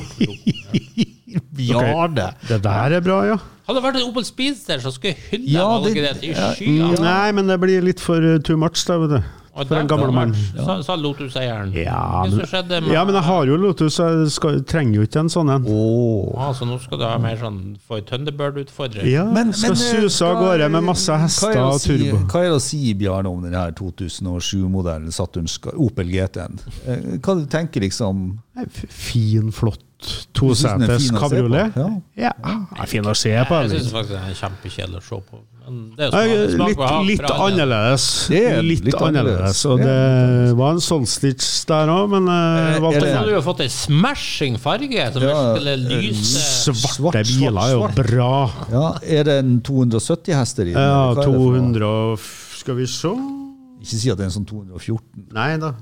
S4: Bjarne!
S5: Det der er bra, ja.
S3: Hadde det vært en Opel Speedster, så skulle jeg hylle
S4: Ja, det-
S3: valget ditt i
S4: ja.
S3: skyene.
S5: Mm, Nei, men det blir litt for eh, too much, da, vet du.
S3: Og
S5: For
S3: der
S5: en gammel
S3: var
S5: mann.
S3: det, Sa, sa Lotus-eieren.
S5: Ja
S3: Hva som
S5: men,
S3: skjedde med
S5: ja, men jeg har jo Lotus, så jeg skal, trenger jo ikke en sånn en.
S4: Åh.
S3: Ah, så nå skal du ha mer sånn få en Thunderbird-utfordring?
S5: Ja,
S4: Men-
S5: skal
S4: men, eh,
S5: suse av
S4: hva-
S5: gårde med masse
S4: hva er
S5: hester
S4: det å
S5: og
S4: si-
S5: turbo.
S4: Hva er det å si, Bjarne, om den her 2007-modellen Saturn Sky, Opel GT-en? Eh, Hva du tenker liksom
S5: Nei, f- Fin, flott
S4: synes den er
S5: toseters
S4: fin å se på?
S5: kabriolet.
S4: Ja.
S5: Ja, ah, er fin å se på.
S3: Jeg
S5: eller?
S3: syns faktisk det er kjempekjedelig å se på. Men det er jo
S5: Nei,
S3: smak- smak
S5: Litt,
S3: og hak
S5: litt
S3: fra andre.
S5: annerledes.
S4: Det er
S5: Litt,
S4: litt
S5: annerledes.
S4: annerledes.
S5: Og
S4: Det
S5: det var en Solstitch der òg, men eh,
S4: Eh,
S5: valgte
S3: Så
S4: er
S3: hadde
S5: den.
S3: du jo fått ei smashing farge som
S4: Ja, eh,
S3: skulle lyse
S5: Svarte
S4: svart, svart,
S5: biler er jo
S4: svart.
S5: bra.
S4: Ja, er det en 270 hester i den?
S5: Ja,
S4: eller hva er det for noe?
S5: 200 og f- Skal vi se
S4: Ikke si at det er en sånn 214.
S5: Nei da.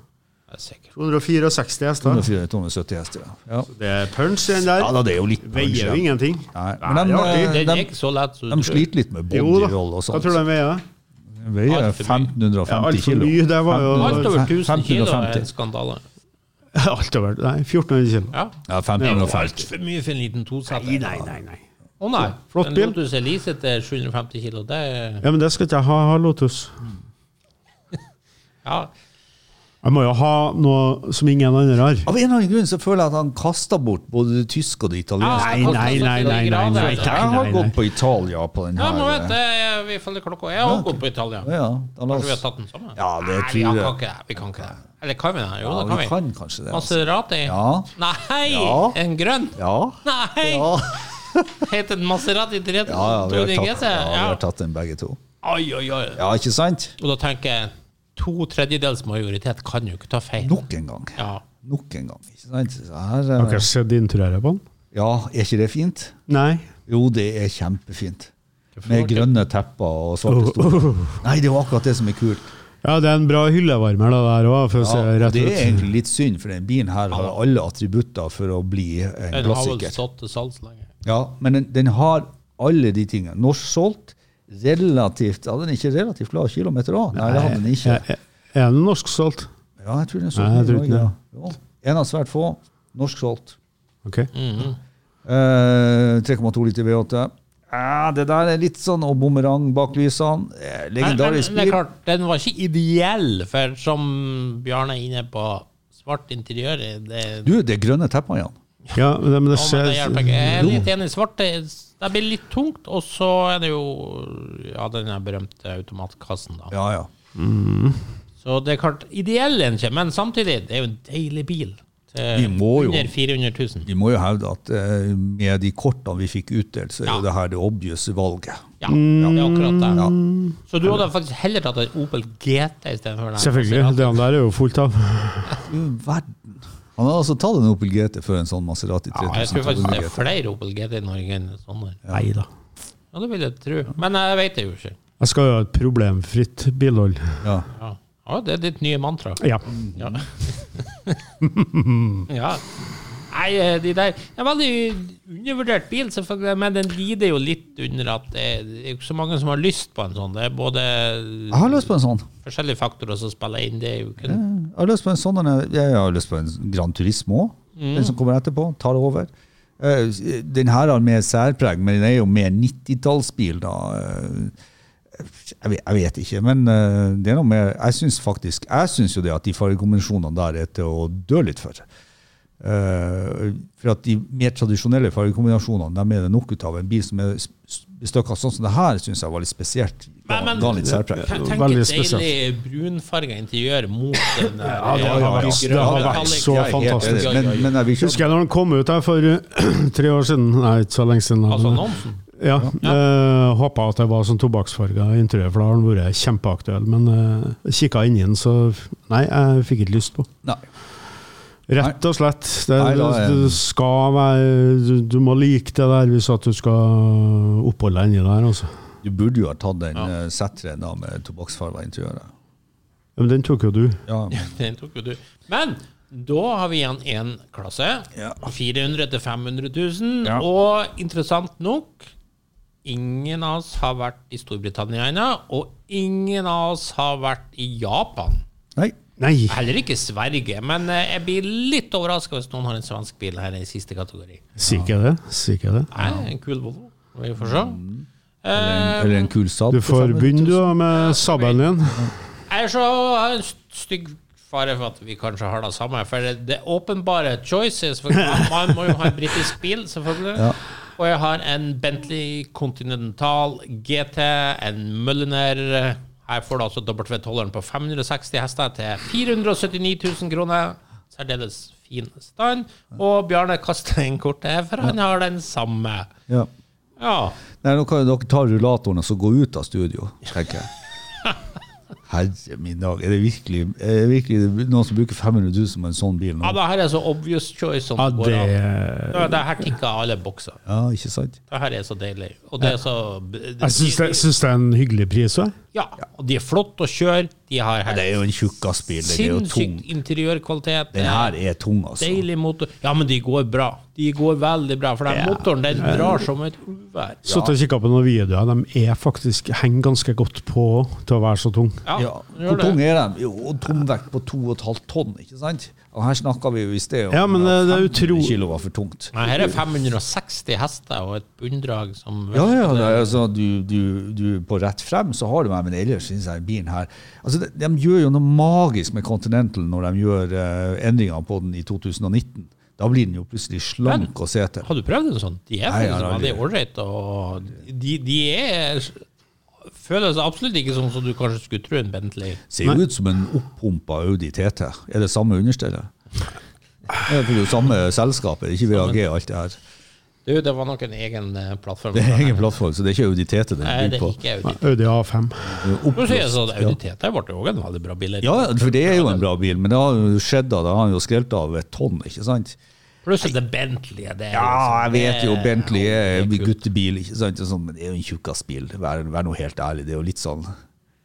S3: Det er sikkert.
S5: 264 hester.
S4: 204, 270 hester, ja. Ja,
S5: Det er punch, den der.
S4: ja da, det er jo litt punch,
S5: Veier
S4: ja.
S5: jo ingenting.
S4: Nei, men de,
S5: Nei, det er
S4: eh,
S3: Den er
S4: de,
S3: ikke så lett som
S4: de
S3: du tror.
S4: sliter litt med
S5: Jo da.
S4: bodyroll og
S5: Hva tror du
S4: sånt.
S5: den veier? [LAUGHS]
S4: De veier
S3: Alt for mye.
S5: Ja,
S4: 1550
S5: Altfor
S4: kilo.
S5: mye. Det var jo
S3: Alt over 1000 kilo eh. er
S4: 550.
S3: en skandale.
S5: Alt over. Nei, 1400 kilo.
S3: Ja.
S4: Ja,
S3: Det er
S4: 550.
S3: altfor mye for en liten tosetter.
S5: Nei, nei, nei, nei.
S3: Å nei.
S5: Flott
S3: en
S5: bil.
S3: Lotus Elise til 750 kilo, det er
S5: Ja, men det skal ikke jeg ha, ha Lotus.
S3: Ja.
S5: Jeg må jo ha noe som ingen andre har.
S4: Av en eller annen grunn så føler jeg at han kaster bort både det tyske og det italienske.
S5: Nei, nei, nei, nei, nei, nei,
S3: Jeg
S4: Jeg
S5: nei,
S4: har
S5: nei,
S4: gått på Italia på den
S3: Ja,
S4: her. eh.
S3: men vet du, jeg- vi følger klokka. Jeg har også gått på Italia.
S4: Ja, da la
S3: Kanskje vi har
S4: oss...
S3: tatt den samme?
S4: Ja, det
S3: Nei, vi
S4: tror
S3: kan
S4: jeg.
S3: ikke det. Vi kan ikke det. Eller kan vi det? Jo,
S4: Ja,
S3: det
S4: vi
S3: kan vi.
S4: kan kanskje det. Altså.
S3: Maserati?
S4: Ja.
S3: Nei!
S4: Ja.
S3: En grønn?
S4: Ja.
S3: Nei!
S4: Ja.
S3: Heter den Maserati 3000?
S4: Ja, ja, vi har
S3: 200
S4: tatt,
S3: GT?
S4: ja, vi
S3: Ja.
S4: har tatt den begge to.
S3: Oi, oi, oi.
S4: Ja, ikke sant?
S3: Og da tenker jeg to tredjedels majoritet kan jo ikke ta feil.
S4: Nok en gang.
S3: Ja.
S4: Nok en gang. Ikke sant? Så her, eh,
S5: Har dere sett interiøret på den?
S4: ja, er ikke det fint?
S5: Nei.
S4: Jo, det er kjempefint. Med grønne tepper og [LAUGHS] svarte stoler. Nei, det er jo akkurat det som er kult.
S5: Ja, det er en bra hyllevarmer, det der òg, for å se
S4: Ja,
S5: rett
S4: det er
S5: ut.
S4: egentlig litt synd, for den bilen her har alle attributter for å bli en
S3: Den har vel
S4: klassiker.
S3: stått til salgs lenge.
S4: Ja, men den, den har alle de tingene. Norsk solgt, relativt Hadde den ikke relativt lav kilometer òg? Nei, det hadde den ikke.
S5: Er, er den norsksolgt?
S4: Ja, jeg tror den er
S5: Nei, jeg
S4: solgt i
S5: tror ikke
S4: Norge. Ja. Jo, En av svært få. Norsk solgt.
S5: Ok.
S4: Eh, 3,2 liter V8. Eh, det der er litt sånn, og bumerang bak lysene. Eh,
S3: Men, men
S4: legendarisk
S3: det er
S4: bil.
S3: klart, den var ikke ideell, for som Bjarne er inne på, svart interiør det,
S4: Du, det er grønne teppene, Jan.
S5: Ja, men
S3: Å, men
S5: det ser
S3: det hjelper ikke. Jeg er litt enig. Svart det, det blir litt tungt, og så er det jo ja, den der berømte automatkassen, da.
S4: Ja, ja.
S3: Så det er klart, ideell er den ikke, men samtidig, det er jo en deilig bil. Til
S4: Vi må jo-
S3: Under 400 000.
S4: Vi må jo hevde at eh, med de kortene vi fikk utdelt, så er jo det her det obvious valget.
S3: Ja, det er akkurat det.
S4: Mm. Ja.
S3: Så du hadde faktisk heller tatt en Opel GT istedenfor den?
S5: Selvfølgelig. Det der er jo fullt av.
S4: Du verden. Han har altså tatt en Opel GT før en sånn Maserati 3000.
S3: Ja, jeg tror faktisk det er
S4: GT.
S3: flere Opel GT i Norge enn sånne.
S5: Nei da.
S3: Ja, det vil jeg tro. Men jeg vet det jo ikke.
S5: Jeg skal jo ha et problemfritt bilhold.
S4: Ja.
S3: Ja, ja det er ditt nye mantra.
S5: Ja.
S3: Ja. ja. Nei, eh, de der Det er en veldig undervurdert bil, selvfølgelig, men den lider jo litt under at det er det er jo ikke så mange som har lyst på en sånn. Det er både
S4: Jeg har lyst på en sånn.
S3: forskjellige faktorer som spiller inn. Det er jo ikke
S4: Jeg har lyst på en sånn, og jeg har lyst på en Gran Turismo òg. Den som kommer etterpå, tar over. Eh, Den her har mer særpreg, men den er jo mer 90-tallsbil, da. Eh, Jeg vet, jeg vet ikke, men eh, det er noe med Jeg syns faktisk Jeg synes jo det at de fargekombinasjonene der er til å dø litt for. Eh, For at de mer tradisjonelle fargekombinasjonene dem er det nok ut av. En bil som er s- s- bestøkket sånn som det her, syns jeg var litt spesielt. Ga,
S3: Men- men-
S4: ga litt særpreg.
S3: Tenk tenk
S5: Veldig
S3: et
S5: spesielt.
S3: deilig brunfarga interiør mot den der.
S5: Ja, det har vært-
S3: grønne
S5: det har vært
S3: metallic-
S5: så
S4: Jeg er helt enig,
S5: fantastisk.
S4: Men, men jeg vil ikke
S5: Husker jeg når den kom ut her for [CLEARS THROAT] tre år siden? Nei, ikke så lenge siden.
S3: Altså annonsen.
S5: Ja. Eh, Håpa at det var sånn tobakksfarga interiør, for da har den vært kjempeaktuell. Men eh, kikka inni den, så Nei, jeg fikk ikke lyst på.
S4: Nei.
S5: Rett og slett. Det,
S4: Nei, da er-
S3: eh.
S5: du, du skal være du, du må like det der hvis at du skal oppholde deg inni der, altså.
S4: Du burde jo ha tatt den ja. Z-en da med tobakksfarga interiøret.
S5: Ja, Men den tok jo du.
S4: Ja.
S3: Den tok jo du. Men da har vi igjen én klasse.
S4: Ja.
S3: 400 000-500 000.
S4: Ja.
S3: Og interessant nok, ingen av oss har vært i Storbritannia ennå. Og ingen av oss har vært i Japan.
S4: Nei.
S5: Nei!
S3: Heller ikke Sverige. Men eh, jeg blir litt overraska hvis noen har en svensk bil her i siste kategori.
S5: Sier ikke jeg det? Sier ikke jeg det?
S3: Nei, en kul Volvo. Vi får se.
S4: Mm.
S3: Eh,
S4: Eller en kul Saab.
S5: Eh, Du får begynne du da, med sabelen din.
S3: Jeg er så en st- stygg fare for at vi kanskje har det samme. For det, det åpenbare choices for Man må jo ha en britisk bil, selvfølgelig. Og jeg har en Bentley Continental GT, en Mulliner Her får du altså W12-eren på 560 hester til 479 000 kroner. Særdeles fin stand. Og Bjarne kaster inn kortet, her, for han har den samme.
S4: Ja.
S3: Ja.
S4: Nei, nå kan jo dere ta rullatoren og så gå ut av studio, tenker
S5: [LAUGHS]
S4: jeg. Herre min dag, er det virkelig, er det virkelig noen som bruker 500 000 på en sånn bil
S3: ja,
S4: nå?
S3: det her er så obvious choice. Som
S5: Ja,
S3: går an.
S5: det
S3: Ja, det her tikker alle bokser.
S4: Ja, ikke sant?
S3: Det her er så deilig. Og det er så
S5: Jeg syns det, syns det er en hyggelig pris òg.
S3: Ja, og de er flott å kjøre. De har her
S4: Det er jo en tjukkasbil, den er jo tung.
S3: sinnssykt interiørkvalitet.
S4: Den her er tung, altså.
S3: Deilig motor. Ja, men de går bra. De går veldig bra, for den motoren den drar som et uvær.
S5: Satt og kikka på noen videoer. De er faktisk henger ganske godt på til å være så tung.
S3: Ja,
S4: Ja.
S3: den
S4: Hvor
S3: gjør
S4: tung
S3: det.
S4: er den? Jo, tungvekt på 2,5 tonn, ikke sant? Og her snakka vi jo i sted om
S5: Ja, men det- det er utro-
S4: 500 kilo var for tungt.
S3: Nei, her er 560 hester og et bunndrag som
S4: Ja, ja, det, er altså, du, du, du på rett frem så har du meg, men ellers synes jeg bilen her altså, de, de gjør jo noe magisk med Continental når de gjør eh, endringer på den i 2019. Da blir den jo plutselig slank og sete.
S3: Har du prøvd en sånn? De er
S4: Nei, jeg
S3: faktisk
S4: har
S3: veldig
S4: aldri-
S3: ålreit, og de, de er Føles absolutt ikke sånn som du kanskje skulle tro en Bentley.
S4: Ser jo ut som en opppumpa Audi TT. Er det samme understellet? Det er jo samme selskap, er det ikke VAG og alt det her.
S3: Du, det var nok en egen eh, plattform.
S4: Det er egen plattform, så det er ikke Audi TT den
S3: Nei,
S4: er
S3: det
S4: bygd
S3: er
S4: på.
S3: ikke Audi.
S5: Audi A5.
S3: For å si det sånn,
S4: Ja.
S3: Audi TT ble jo også en veldig bra bil.
S4: Ja, for det er jo en bra bil, men det har jo skjedd da, da har han jo skrelt av et tonn, ikke sant?
S3: Pluss at det er Bentley. Det er
S4: Ja,
S3: liksom-
S4: jeg vet jo
S3: det-
S4: Bentley
S3: det
S4: er
S3: er kult.
S4: guttebil, ikke sant? Og sånn, men det er jo en tjukkasbil. Vær, vær nå helt ærlig. Det er jo litt sånn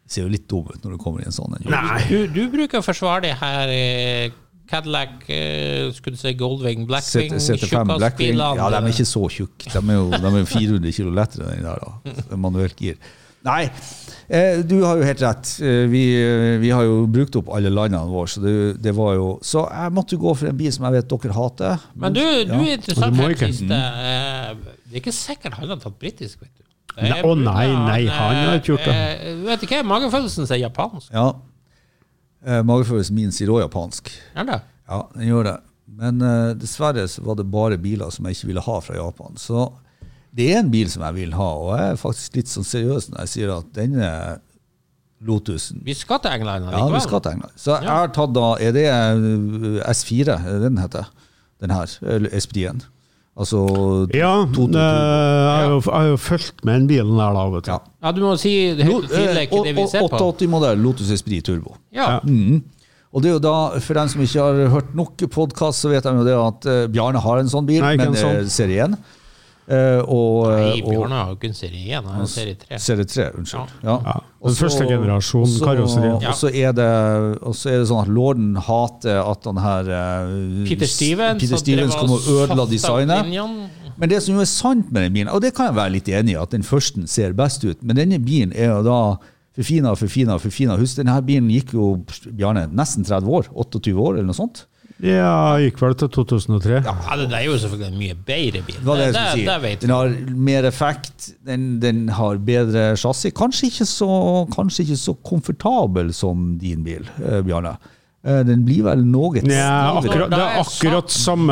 S4: Ser jo litt dum ut når du kommer i en sånn. en.
S5: Nei.
S3: Du, du bruker å forsvare det her eh, Cadillac, eh, skulle du si Goldwing, Blackwing,
S4: CT5 Blackwing.
S3: tjukkassbilene.
S4: Ja, de er ikke så tjukke. De er jo, de er jo 400 kilo lettere enn den der, da. Så Manuelt gir. Nei, eh, du har jo helt rett. Eh, Vi, eh, vi har jo brukt opp alle landene våre, så det, det var jo Så jeg måtte jo gå for en bil som jeg vet dere hater.
S3: Men du, du er interessant
S5: Du må
S3: her,
S5: ikke.
S3: Siste. Eh, Det er ikke sikkert han har tatt britisk, vet du. Det
S5: Nei,
S3: er
S5: å
S3: mulig
S5: nei, nei, han har
S3: eh,
S5: ikke gjort det.
S3: eh, Vet du hva, magefølelsen sier japansk.
S4: Ja. Eh, Magefølelsen min sier også japansk.
S3: Er det?
S4: Ja, den gjør det. Men eh, dessverre så var det bare biler som jeg ikke ville ha fra Japan. Så det er en bil som jeg vil ha, og jeg er faktisk litt sånn seriøs når jeg sier at denne Lotusen
S3: Vi skal til England
S4: Ja, vi
S3: likevel.
S4: skal til England. Så jeg har tatt da Er det eh, S4 er det den heter? Den her. Eller Esprien. Altså
S5: Ja,
S4: to- to-
S5: eh, jeg har jo- jeg har jo fulgt med den bilen der, da. vet du.
S4: Ja.
S3: Ja, du må si det høyt og tydelig
S4: eh,
S3: ikke det vi ser på.
S4: 88-modell Lotus Esprit Turbo.
S3: Ja.
S4: Og det er jo da, For dem som ikke har hørt nok podkast, så vet de jo det at eh, Bjarne har en sånn bil,
S5: Nei, ikke
S4: men
S5: en sånn.
S4: eh, serie 1. Eh, og,
S3: Nei,
S4: eh,
S3: Bjørnar har jo ikke en serie 1, han har en serie 3.
S4: og serie 3. Unnskyld. Ja.
S5: Ja, den første generasjon
S4: så-
S5: karosseri.
S4: Og så er, det- og så er det sånn at lorden hater at han her eh,
S3: Peter Stevens,
S4: Peter Stevens kom og ødela designet.
S3: designet.
S4: Men det som jo er sant med den bilen, og det kan jeg være litt enig i, at den første ser best ut, men denne bilen er jo da forfina, forfina, forfina. Husk, denne her bilen gikk jo Bjarne, nesten 30 år, 28 år eller noe sånt.
S5: Ja, gikk vel til 2003.
S3: Ja, det der er jo selvfølgelig en mye bedre bil.
S4: Det var det jeg
S3: det,
S4: skulle
S3: det vet
S4: si. Den har mer effekt, den, den har bedre chassis. Kanskje ikke så, kanskje ikke så komfortabel som din bil, eh, Bjarne. Eh, den blir vel noe
S5: Nja,
S3: Stil.
S5: akkurat, det
S3: Da
S5: er
S3: er
S5: akkurat samme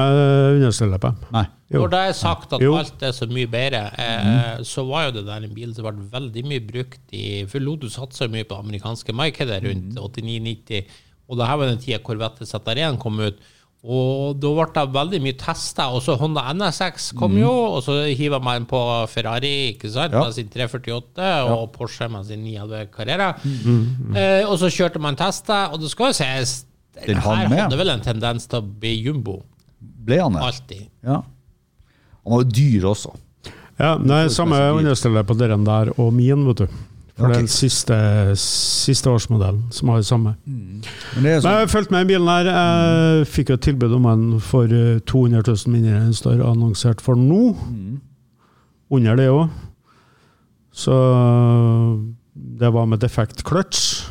S5: understellet på dem.
S4: Nei.
S5: Jo.
S3: Når det er sagt at
S5: Jo.
S3: alt er så mye bedre, eh, så var jo det der en bil som ble veldig mye brukt i For Lotus satsa mye på amerikanske markedet rundt 89-90, og det her var den tida Corvette ZR1 kom ut. Og da ble det veldig mye testa. Og så Honda NSX kom jo, og så hiva man på Ferrari ikke sant,
S4: Ja.
S3: med sin 348 og Porsche med sin 911 Carrera. Eh, og så kjørte man tester, og det skal jo sies
S4: Den
S3: det
S4: hang
S3: her
S4: med.
S3: hadde vel en tendens til å bli jumbo.
S4: Ble han det?
S3: Alltid.
S4: Ja. Han var jo dyr også.
S5: Ja, det er samme understellet på den der og min, vet du. For det er den siste, siste årsmodellen som har samme.
S4: Men det er
S5: Men
S4: sånn,
S5: jeg har fulgt med i bilen her. Jeg fikk jo et tilbud om en for eh, 200 000 mindre enn den står annonsert for nå.
S4: Mm.
S5: Under det òg. Så det var med defekt clutch.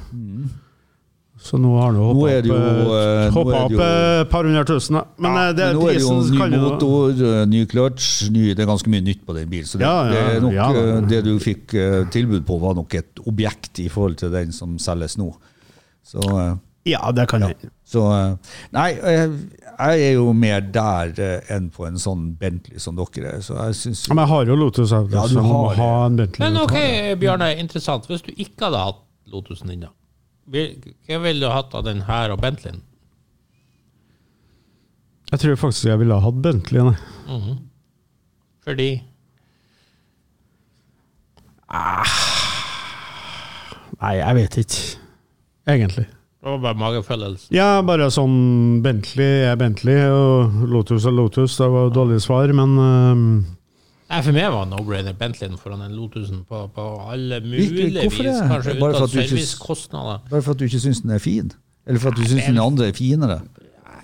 S5: Så nå har det
S4: Mm. Nå er det jo, eh, nå
S5: hoppa
S4: er
S5: opp
S4: det jo-
S5: et par hundre tusen, da. Men eh, det,
S4: men nå er det jo
S5: prisen
S4: ny
S5: kan jo
S4: motor, eh, ny clutch, ny, det er ganske mye nytt på den bilen. Så det,
S5: Ja, ja,
S4: det, er nok,
S5: ja, ja.
S4: eh, det du fikk eh, tilbud på, var nok et objekt i forhold til den som selges nå. Så, eh,
S5: Ja, det kan jeg.
S4: så eh, Nei, jeg, jeg er jo mer der eh, enn på en sånn Bentley som dere er, så jeg syns
S5: Ja, Men jeg har jo Lotus Audio,
S4: Ja, du
S5: så jeg må
S4: har det.
S5: ha en Bentley.
S3: Men
S5: vet du.
S3: ok,
S4: Mm.
S3: Bjarne, interessant. Hvis du ikke hadde hatt Lotusen din, da? vil- Hva ville du hatt av den her og Bentleyen?
S5: Jeg tror faktisk jeg ville ha hatt Bentley. Nei.
S3: Fordi
S5: nei, jeg vet ikke. Egentlig.
S3: det var bare magefølelsen.
S5: Ja, bare sånn Bentley er Bentley, og Lotus er Lotus. Det var jo dårlig svar, men ehm, øhm,
S3: Nei, for meg var no-brainer Bentleyen foran en Lotusen på, på alle
S4: Virkelig,
S3: mulige vis.
S4: hvorfor det?
S3: Kanskje
S4: Bare for
S3: unntatt
S4: at du ikke-
S3: servicekostnader.
S4: Bare for at du ikke syns den er fin? Eller for at du syns den andre er finere?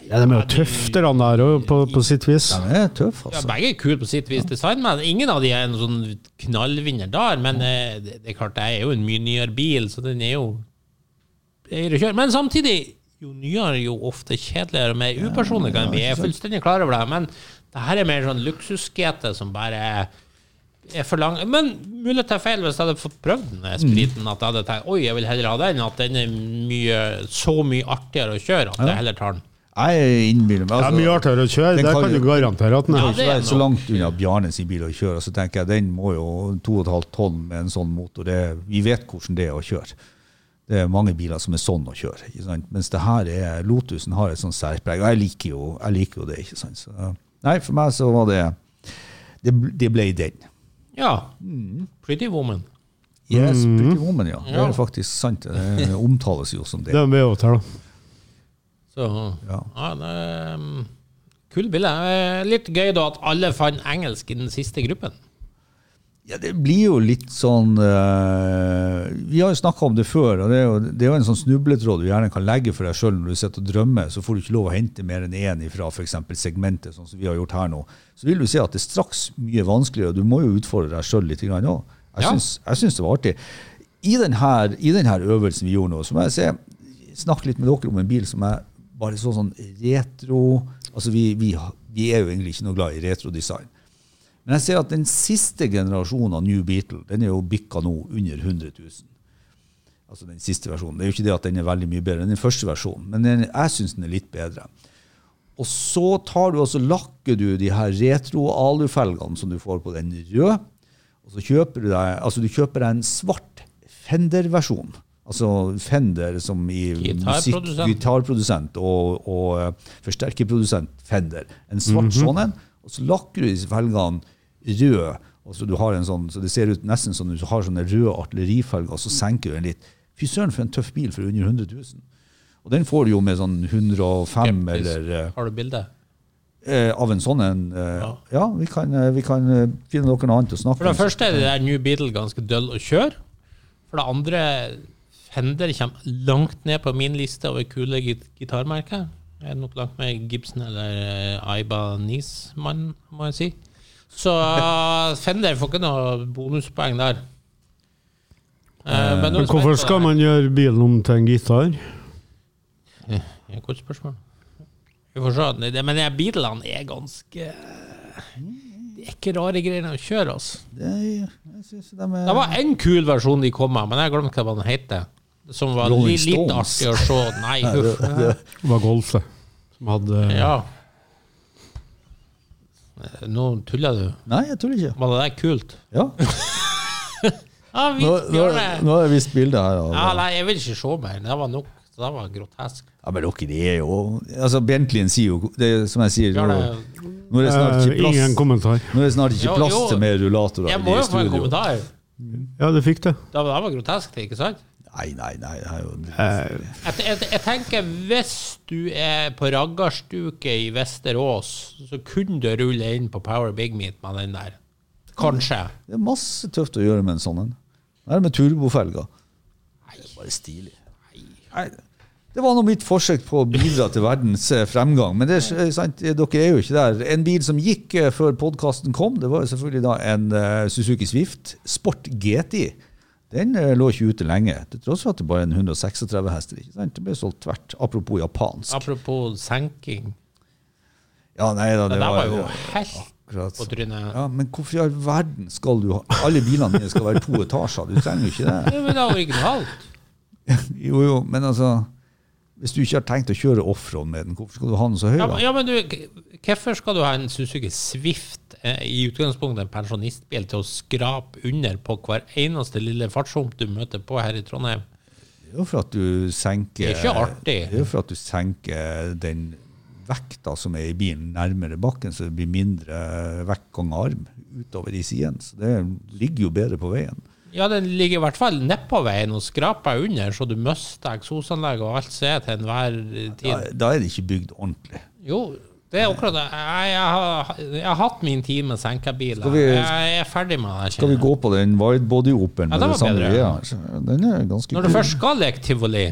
S5: ja, de er jo tøffe, de der òg, på, på sitt vis.
S4: Den er tøff,
S3: Ja,
S4: altså.
S3: begge er kule på sitt vis, design, men ingen av de er en sånn knallvinner der. Men eh, det, det er klart, det er jo en mye nyere bil, så den er jo bedre å kjøre. Men samtidig, jo nyere, jo ofte kjedeligere og mer upersonlig kan den bli. Jeg er fullstendig klar over det, men det her er mer sånn luksusgete som bare er for lang. Men mulig jeg tar feil hvis jeg hadde fått prøvd den der spriten, at jeg hadde tenkt oi, jeg vil heller ha den, at den er mye, så mye artigere å kjøre at jeg heller tar den.
S4: Jeg innbiller meg
S5: Det er mye
S4: altså,
S5: artigere å kjøre,
S4: Den
S5: det
S4: kan
S5: kan du
S4: jo-
S5: garantere at den
S3: Ja,
S5: er.
S3: det
S4: ikke
S3: er
S4: være så
S3: noe.
S4: langt unna Bjarne sin bil å kjøre. Så tenker jeg den må jo 2,5 tonn med en sånn motor. Det, vi vet hvordan det er å kjøre. Det er mange biler som er sånn å kjøre. Ikke sant? Mens det her er Lotusen har et sånt særpreg. Og jeg liker jo, jeg liker jo det, ikke sant. Så, nei, for meg så var det Det, bl- det ble den.
S3: Ja. Pretty woman.
S4: Yes, Pretty Woman, ja. Det er faktisk sant. Det omtales jo som det.
S5: Det må vi overta, da.
S3: Så
S4: Ja.
S3: ja. det er um, Kul bilde. Eh, Litt gøy da at alle fant engelsk i den siste gruppen.
S4: Ja, det blir jo litt sånn eh, Vi har jo snakka om det før, og det er, jo, det er jo en sånn snubletråd du gjerne kan legge for deg sjøl når du sitter og drømmer. Så får du ikke lov å hente mer enn én ifra f.eks. segmentet, sånn som vi har gjort her nå. Så vil du si at det er straks mye vanskeligere, og du må jo utfordre deg sjøl litt òg. Jeg,
S3: Ja.
S4: syns- jeg syns det var artig. I denne, I den her øvelsen vi gjorde nå, så må jeg se, snakke litt med dere om en bil som er bare så sånn retro Altså, vi, vi, har- vi er jo egentlig ikke noe glad i retrodesign. Men jeg ser at den siste generasjonen av New Beatle den er jo bikka nå under 100 000. Altså den siste versjonen. Det er jo ikke det at den er veldig mye bedre enn den første versjonen, men den, jeg syns den er litt bedre. Og så tar du altså, lakker du de her retro-alufelgene som du får på den røde, og så kjøper du deg, altså, du kjøper deg en svart Fender-versjon. Altså Fender som i musikk,
S3: Gitarprodusent.
S4: gitarprodusent og, og eh, forsterkerprodusent Fender. En svart sånn en, og så lakker du disse felgene røde, og så du har en sånn, så det ser ut nesten som du har sånne røde artillerifelger, og så senker du den litt. Fy søren, for en tøff bil for under 100 000. Og den får du jo med sånn 105 eller eh,
S3: Har du bilde?
S4: eh, av en sånn en. Eh, ja.
S3: Ja.
S4: vi kan, eh, vi kan eh, finne noe annet å snakke
S3: For det
S4: om.
S3: første er det der New Beatle ganske døll å kjøre. For det andre, Fender kommer langt ned på min liste over kule git gitarmerker. Jeg er nok langt med Gibson eller eh, Ibanez-mann, må jeg si. Så Fender får ikke noe bonuspoeng der. Eh, men
S5: Men hvorfor skal man gjøre bilen om til en gitar?
S3: Ja, Godt spørsmål. Vi får se. Nei, det- Men de bilene er ganske Det er ikke rare greiene å kjøre, altså.
S4: Det- jeg synes de er-
S3: Det var en kul versjon de kom med, men jeg glemte hva den het. Som var
S4: Rolling
S3: li litt
S4: Stones.
S3: artig å se.
S4: [LAUGHS]
S3: Nei, huff.
S5: Det var Golf, det. Som hadde
S3: Ja. Nå tuller du.
S4: Nei, jeg tror ikke.
S3: Var det der kult?
S4: Ja.
S3: Ja, vi
S4: Nå, nå,
S3: gjør det.
S4: nå er det visst bilde her. altså. Av,
S3: Ja, nei, jeg vil ikke se mer. Det var nok. Det der var grotesk.
S4: ja, men dere, det er jo Altså, Bentleyen sier jo det er som jeg sier,
S3: Gjør
S4: nå,
S3: det.
S4: nå er det snart
S5: eh,
S4: ikke
S5: Ingen
S4: plass,
S5: kommentar.
S4: nå er det snart ikke
S3: Jo,
S4: plass
S3: jo.
S4: til mer rullatorer
S3: Jeg må
S4: i
S3: jo få en
S4: studio.
S3: kommentar. Det
S5: Ja, det fikk det.
S3: det var grotesk, det, ikke sant?
S4: Nei, nei, nei. Det er jo,
S5: Eh,
S3: Jeg, jeg, jeg tenker hvis du er på raggarstuke i Vesterås, så kunne du rulle inn på Power Big Meat med den der. Kanskje.
S4: det er masse tøft å gjøre med en sånn en. Det er med turbofelger. Nei, det er bare stilig. Nei. Det var nå mitt forsøk på å bidra til verdens eh, fremgang. Men det er, s- eh, sant, eh, dere er jo ikke der. En bil som gikk eh, før podkasten kom, det var jo selvfølgelig da en eh, Suzuki Swift Sport GTI. Den eh, lå ikke ute lenge, til tross for at det bare er en 136 hester. ikke sant? Det ble solgt tvert. Apropos japansk.
S3: Apropos senking.
S4: Ja, nei da,
S3: Det
S4: det
S3: der var
S4: var
S3: jo
S4: ja,
S3: helt
S4: akkurat
S3: på
S4: sånn.
S3: trynet.
S4: Ja, Men hvorfor i all verden skal du ha Alle bilene dine skal være to etasjer. Du trenger jo ikke det.
S3: Ja, men det var originalt.
S4: Jo, jo, men altså Hvis du ikke har tenkt å kjøre offroad med den, hvorfor skal du ha den så høy?
S3: [LAUGHS] Ja,
S4: da?
S3: men- ja, men du, k- hvorfor skal du ha en Suzuki Swift, eh, i utgangspunktet en pensjonistbil, til å skrape under på hver eneste lille fartshump du møter på her i Trondheim?
S4: Det er jo for at du senker
S3: Det er ikke artig.
S4: Det er jo for at du senker den vekta som er i bilen, nærmere bakken, så det blir mindre vektgang av arm utover i siden. Så det ligger jo bedre på veien.
S3: Ja, den ligger i hvert fall nedpå veien og skraper under, så du mister eksosanlegg og alt som er til enhver
S4: Da,
S3: tid.
S4: da er det ikke bygd ordentlig.
S3: Jo, det er akkurat det. Jeg, jeg, har, jeg har hatt min tid med senkebiler.
S4: Skal vi-
S3: jeg er ferdig med det.
S4: Skal vi gå på den widebody-operen
S3: Ja, den
S4: med det
S3: var
S4: samme
S3: bedre.
S4: vi har? Den er ganske
S3: Når du
S4: kul.
S3: først skal leke tivoli,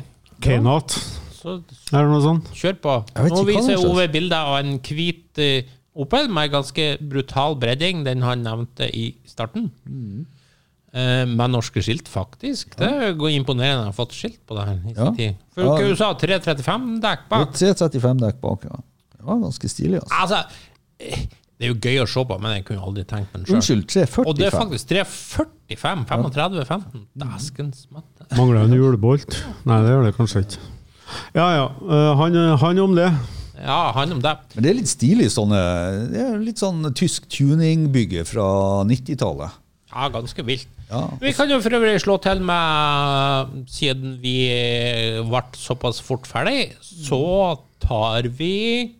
S5: K-Not,
S3: så
S5: er det noe sånt?
S3: kjør på.
S4: Jeg vet
S3: Nå
S4: ikke hva
S3: viser
S4: den slags.
S3: Ove bilder av en hvit eh, Opel med ganske brutal bredding, den han nevnte i starten.
S4: Mm.
S3: Eh, Med norske skilt, faktisk. Det er jo imponerende å ha fått skilt på det her. i sin
S4: Ja.
S3: tid.
S4: Ja.
S3: For ikke USA 335-dekk bak.
S4: 335 dekk bak, ja. Det var ganske stilig, altså.
S3: Altså, eh, det er jo gøy å se på, men jeg kunne aldri tenkt meg den sjøl.
S4: Unnskyld, 345.
S3: Og det er faktisk 345, 35, 15. Dæsken smatte.
S5: Mangler en julebolt? Nei, det gjør det kanskje ikke. Ja ja, eh, han, han om det.
S3: Ja, han om det.
S4: Men det er litt stilig sånne Det er litt sånn tysk tuningbygge fra 90-tallet.
S3: Ja, ganske vilt.
S4: Ja.
S3: Vi kan jo for øvrig slå til med Siden vi ble såpass fort ferdig, så tar vi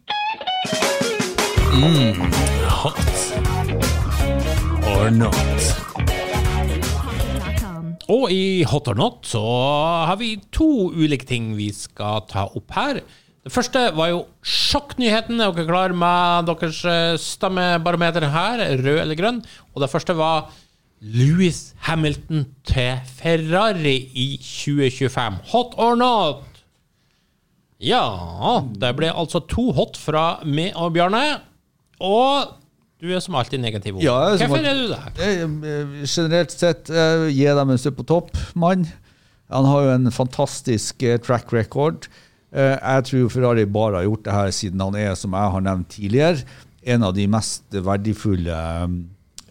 S2: Or not.
S3: Og i Hot or not så har vi to ulike ting vi skal ta opp her. Det første var jo sjakknyheten. Er dere klar med deres eh, stemmebarometer her? Rød eller grønn? Og det første var Louis Hamilton til Ferrari i 2025. Hot or not? Ja, det ble altså to hot fra meg og Bjarne. Og du er som alltid negativ. Ole.
S4: Ja, jeg er som
S3: Hvorfor
S4: alltid-
S3: er du det?
S4: Eh, Generelt sett, eh, gi dem en stup på topp, mann. Han har jo en fantastisk eh, track record. Eh, Jeg tror Ferrari bare har gjort det her siden han er, som jeg har nevnt tidligere, en av de mest verdifulle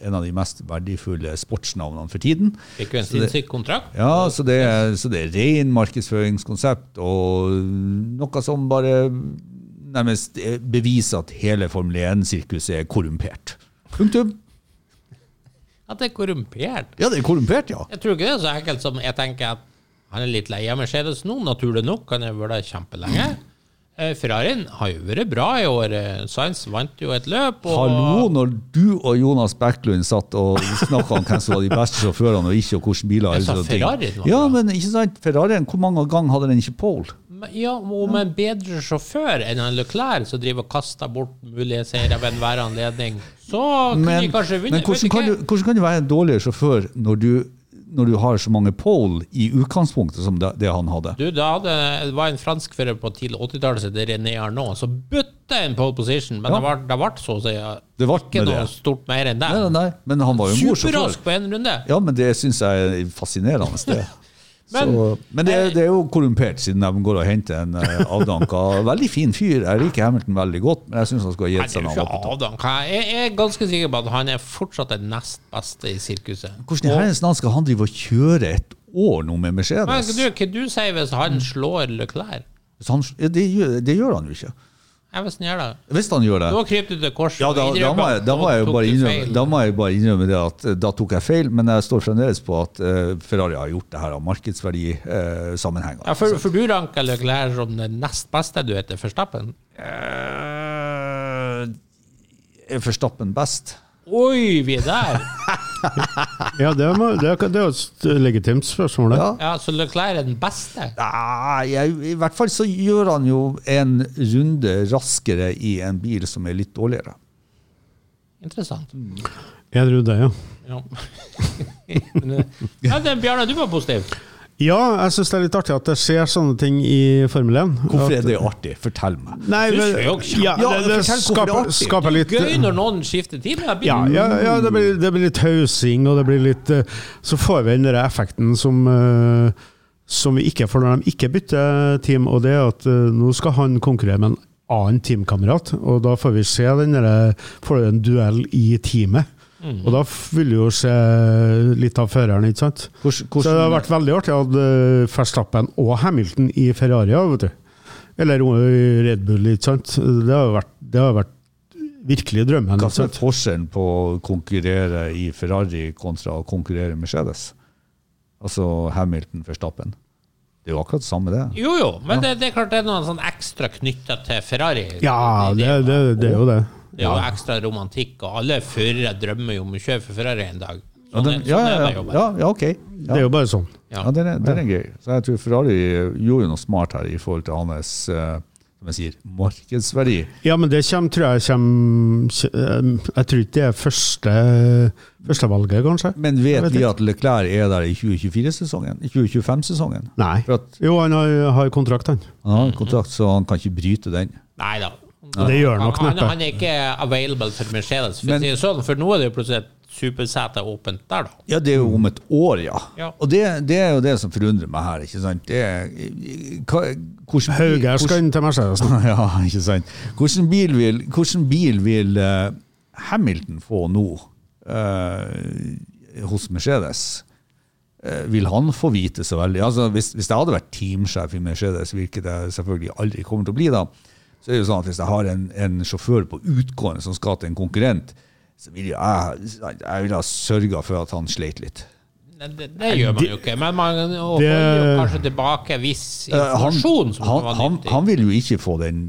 S4: en av de mest verdifulle sportsnavnene for tiden.
S3: Fikk jo en
S4: Så det-
S3: sinnssyk kontrakt.
S4: Ja, så det, er- så det er ren markedsføringskonsept, og noe som bare nærmest eh, beviser at hele Formel 1-sirkuset er korrumpert. Punktum.
S3: At det er korrumpert.
S4: Ja, det er korrumpert, ja.
S3: Jeg tror ikke det er så enkelt som jeg tenker at han er litt lei av Mercedes nå, naturlig nok. Han har vært der kjempelenge. Eh, Ferrarien har jo vært bra i år. Eh, Sainz vant jo et løp. og-
S4: Hallo, når du og Jonas Backlund satt og snakka om hvem som var de beste sjåførene og ikke, og hvilke biler
S3: Jeg
S4: og
S3: sa
S4: sånne ting.
S3: Ferrarien var
S4: Ja,
S3: bra.
S4: men ikke sant? Ferrarien, hvor mange ganger hadde den ikke pole?
S3: Men- Ja, og med en bedre sjåfør enn han Leclerc, som driver og kaster bort mulige seire ved enhver anledning, så kunne
S4: Men,
S3: de kanskje vunnet.
S4: men hvordan, kan du, hvordan kan du være en dårligere sjåfør når du, når du har så mange pole i utgangspunktet som det, det han hadde?
S3: Du, da hadde, det var en franskfører på tidlig 80-tallet som het René Arnault, som bytta en pole position, men
S4: Ja.
S3: det ble- det ble så å si
S4: Det ble
S3: ikke
S4: med
S3: noe
S4: det.
S3: stort mer enn det.
S4: Nei, nei, nei, men han var jo en god sjåfør.
S3: Superrask på én runde.
S4: Ja, men det syns jeg er fascinerende. Det.
S3: [LAUGHS] Men-
S4: så, men det, er- det er jo korrumpert, siden de går og henter en eh, avdanka Veldig fin fyr. Jeg liker Hamilton veldig godt, men jeg syns han skulle ha
S3: Nei,
S4: gitt
S3: det
S4: seg
S3: er
S4: når
S3: jo
S4: han var på
S3: ikke avdanka. Jeg jeg er ganske sikker på at han er fortsatt den nest beste i sirkuset.
S4: Hvordan i herrens land skal han drive og kjøre et år nå med
S3: Men
S4: Mercedes?
S3: du, hva du sier hvis han slår Leclerc?
S4: Så han, ja, det, gjør, det gjør han jo ikke.
S3: Jeg hvis han gjør det.
S4: Hvis han gjør det
S3: Da kryp du til korset.
S4: ja, da,
S3: og
S4: da, må jeg, da, må jeg jo
S3: tok
S4: bare
S3: du
S4: innrømme,
S3: feil.
S4: da må jeg bare innrømme det at eh, da tok jeg feil, men jeg står fremdeles på at eh, Ferrari har gjort det her av markedsverdisammenhenger.
S3: Ja, for, for du ranker Leclerc som den nest beste du heter Verstappen?
S4: Eh, er Forstappen best?
S3: Oi, vi er der!
S5: Ja, det er, det er, det er et legitimt spørsmål.
S4: Ja.
S5: Det.
S3: Ja, Så Leclerc er den beste?
S4: Nei, jeg, I hvert fall så gjør han jo en runde raskere i en bil som er litt dårligere.
S3: Interessant.
S5: Jeg tror det, ja.
S4: [LAUGHS]
S3: Ja. Men, eh, ja, det, Bjarne, du var positiv.
S5: Ja, jeg syns det er litt artig at det skjer sånne ting i Formel 1.
S4: Hvorfor
S5: At-
S4: er det artig? Fortell meg.
S5: Nei,
S3: Du
S5: men,
S3: ser jo ikke-
S5: ja,
S4: Ja,
S5: det, det
S4: fortell hvorfor det er
S5: skaper,
S4: artig.
S5: skaper litt
S3: Gøy når noen skifter tid. men jeg blir-
S5: Ja, ja, ja det, blir, det blir litt hausing, og det blir litt eh, Så får vi den der effekten som eh, som vi ikke får når de ikke bytter team, og det er at eh, nå skal han konkurrere med en annen teamkamerat, og da får vi se den der, eh, får du en duell i teamet.
S4: Mhm.
S5: Og da f- vil du jo se litt av føreren, ikke sant?
S4: Hvordan,
S5: Så det har vært veldig artig at eh, Verstappen og Hamilton i Ferrari, ja, vet du. Eller eh, i Red Bull, ikke sant. Det har vært, det har vært virkelig drømmen.
S4: hva
S5: Ikke
S4: som er
S5: sant?
S4: forskjellen på å konkurrere i Ferrari kontra å konkurrere i Mercedes? Altså Hamilton Verstappen. Det er jo akkurat det samme, det.
S3: Jo, jo, men det, det er klart det er noen sånn ekstra knytta til Ferrari.
S5: Ja, det, det, det er jo det.
S3: Det er jo ekstra romantikk, og alle førere drømmer jo om å kjøre for Ferrari en dag.
S4: Ja,
S3: Sånn,
S4: den,
S3: er-
S4: ja,
S3: sånn er
S4: ja,
S3: det jo
S4: ja,
S3: bare.
S4: ja, ja, ok.
S5: Det
S4: Ja.
S5: er jo bare sånn.
S4: Ja, den er, den er gøy. Så jeg tror Ferrari gjorde jo noe smart her i forhold til hans eh, som jeg sier, markedsverdi.
S5: Ja, men det kommer, tror jeg kommer eh, Jeg tror ikke det er første førstevalget, kanskje.
S4: Men
S5: Jeg
S4: vet
S5: vet
S4: vi
S5: ikke.
S4: at Leclerc er der i 2024-sesongen? 2025-sesongen?
S5: Nei.
S4: For at
S5: Jo, han har, har kontrakt, han.
S4: han har en kontrakt, så han kan ikke bryte den.
S3: Nei da.
S5: Det gjør nok
S3: han,
S5: neppe.
S3: han er ikke available for Mercedes, for,
S4: Men-
S3: å si det sånn, for nå er det jo plutselig et supersete åpent der, da.
S4: Ja, det er jo om et år, ja.
S3: Ja.
S4: Og det, det er jo det som forundrer meg her, ikke sant. Det er, hva, hvordan,
S5: Hauger skal inn til Mercedes.
S4: hvordan, ja, ikke sant? Hvordan bil vil, hvordan bil vil eh, Hamilton få nå eh, hos Mercedes? Eh, vil han få vite så veldig? Altså, hvis, hvis jeg hadde vært teamsjef i Mercedes, hvilket jeg selvfølgelig aldri kommer til å bli, da, så er det jo sånn at hvis jeg har en, en sjåfør på utgående som skal til en konkurrent, så vil jo jeg, jeg vil ha sørga for at han sleit litt.
S3: Nei, Det, det gjør man jo ikke, men man holder
S5: Det-
S3: jo kanskje tilbake viss
S4: Eh, han,
S3: informasjon som
S4: han,
S3: kan være
S4: han,
S3: nyttig.
S4: han vil jo ikke få den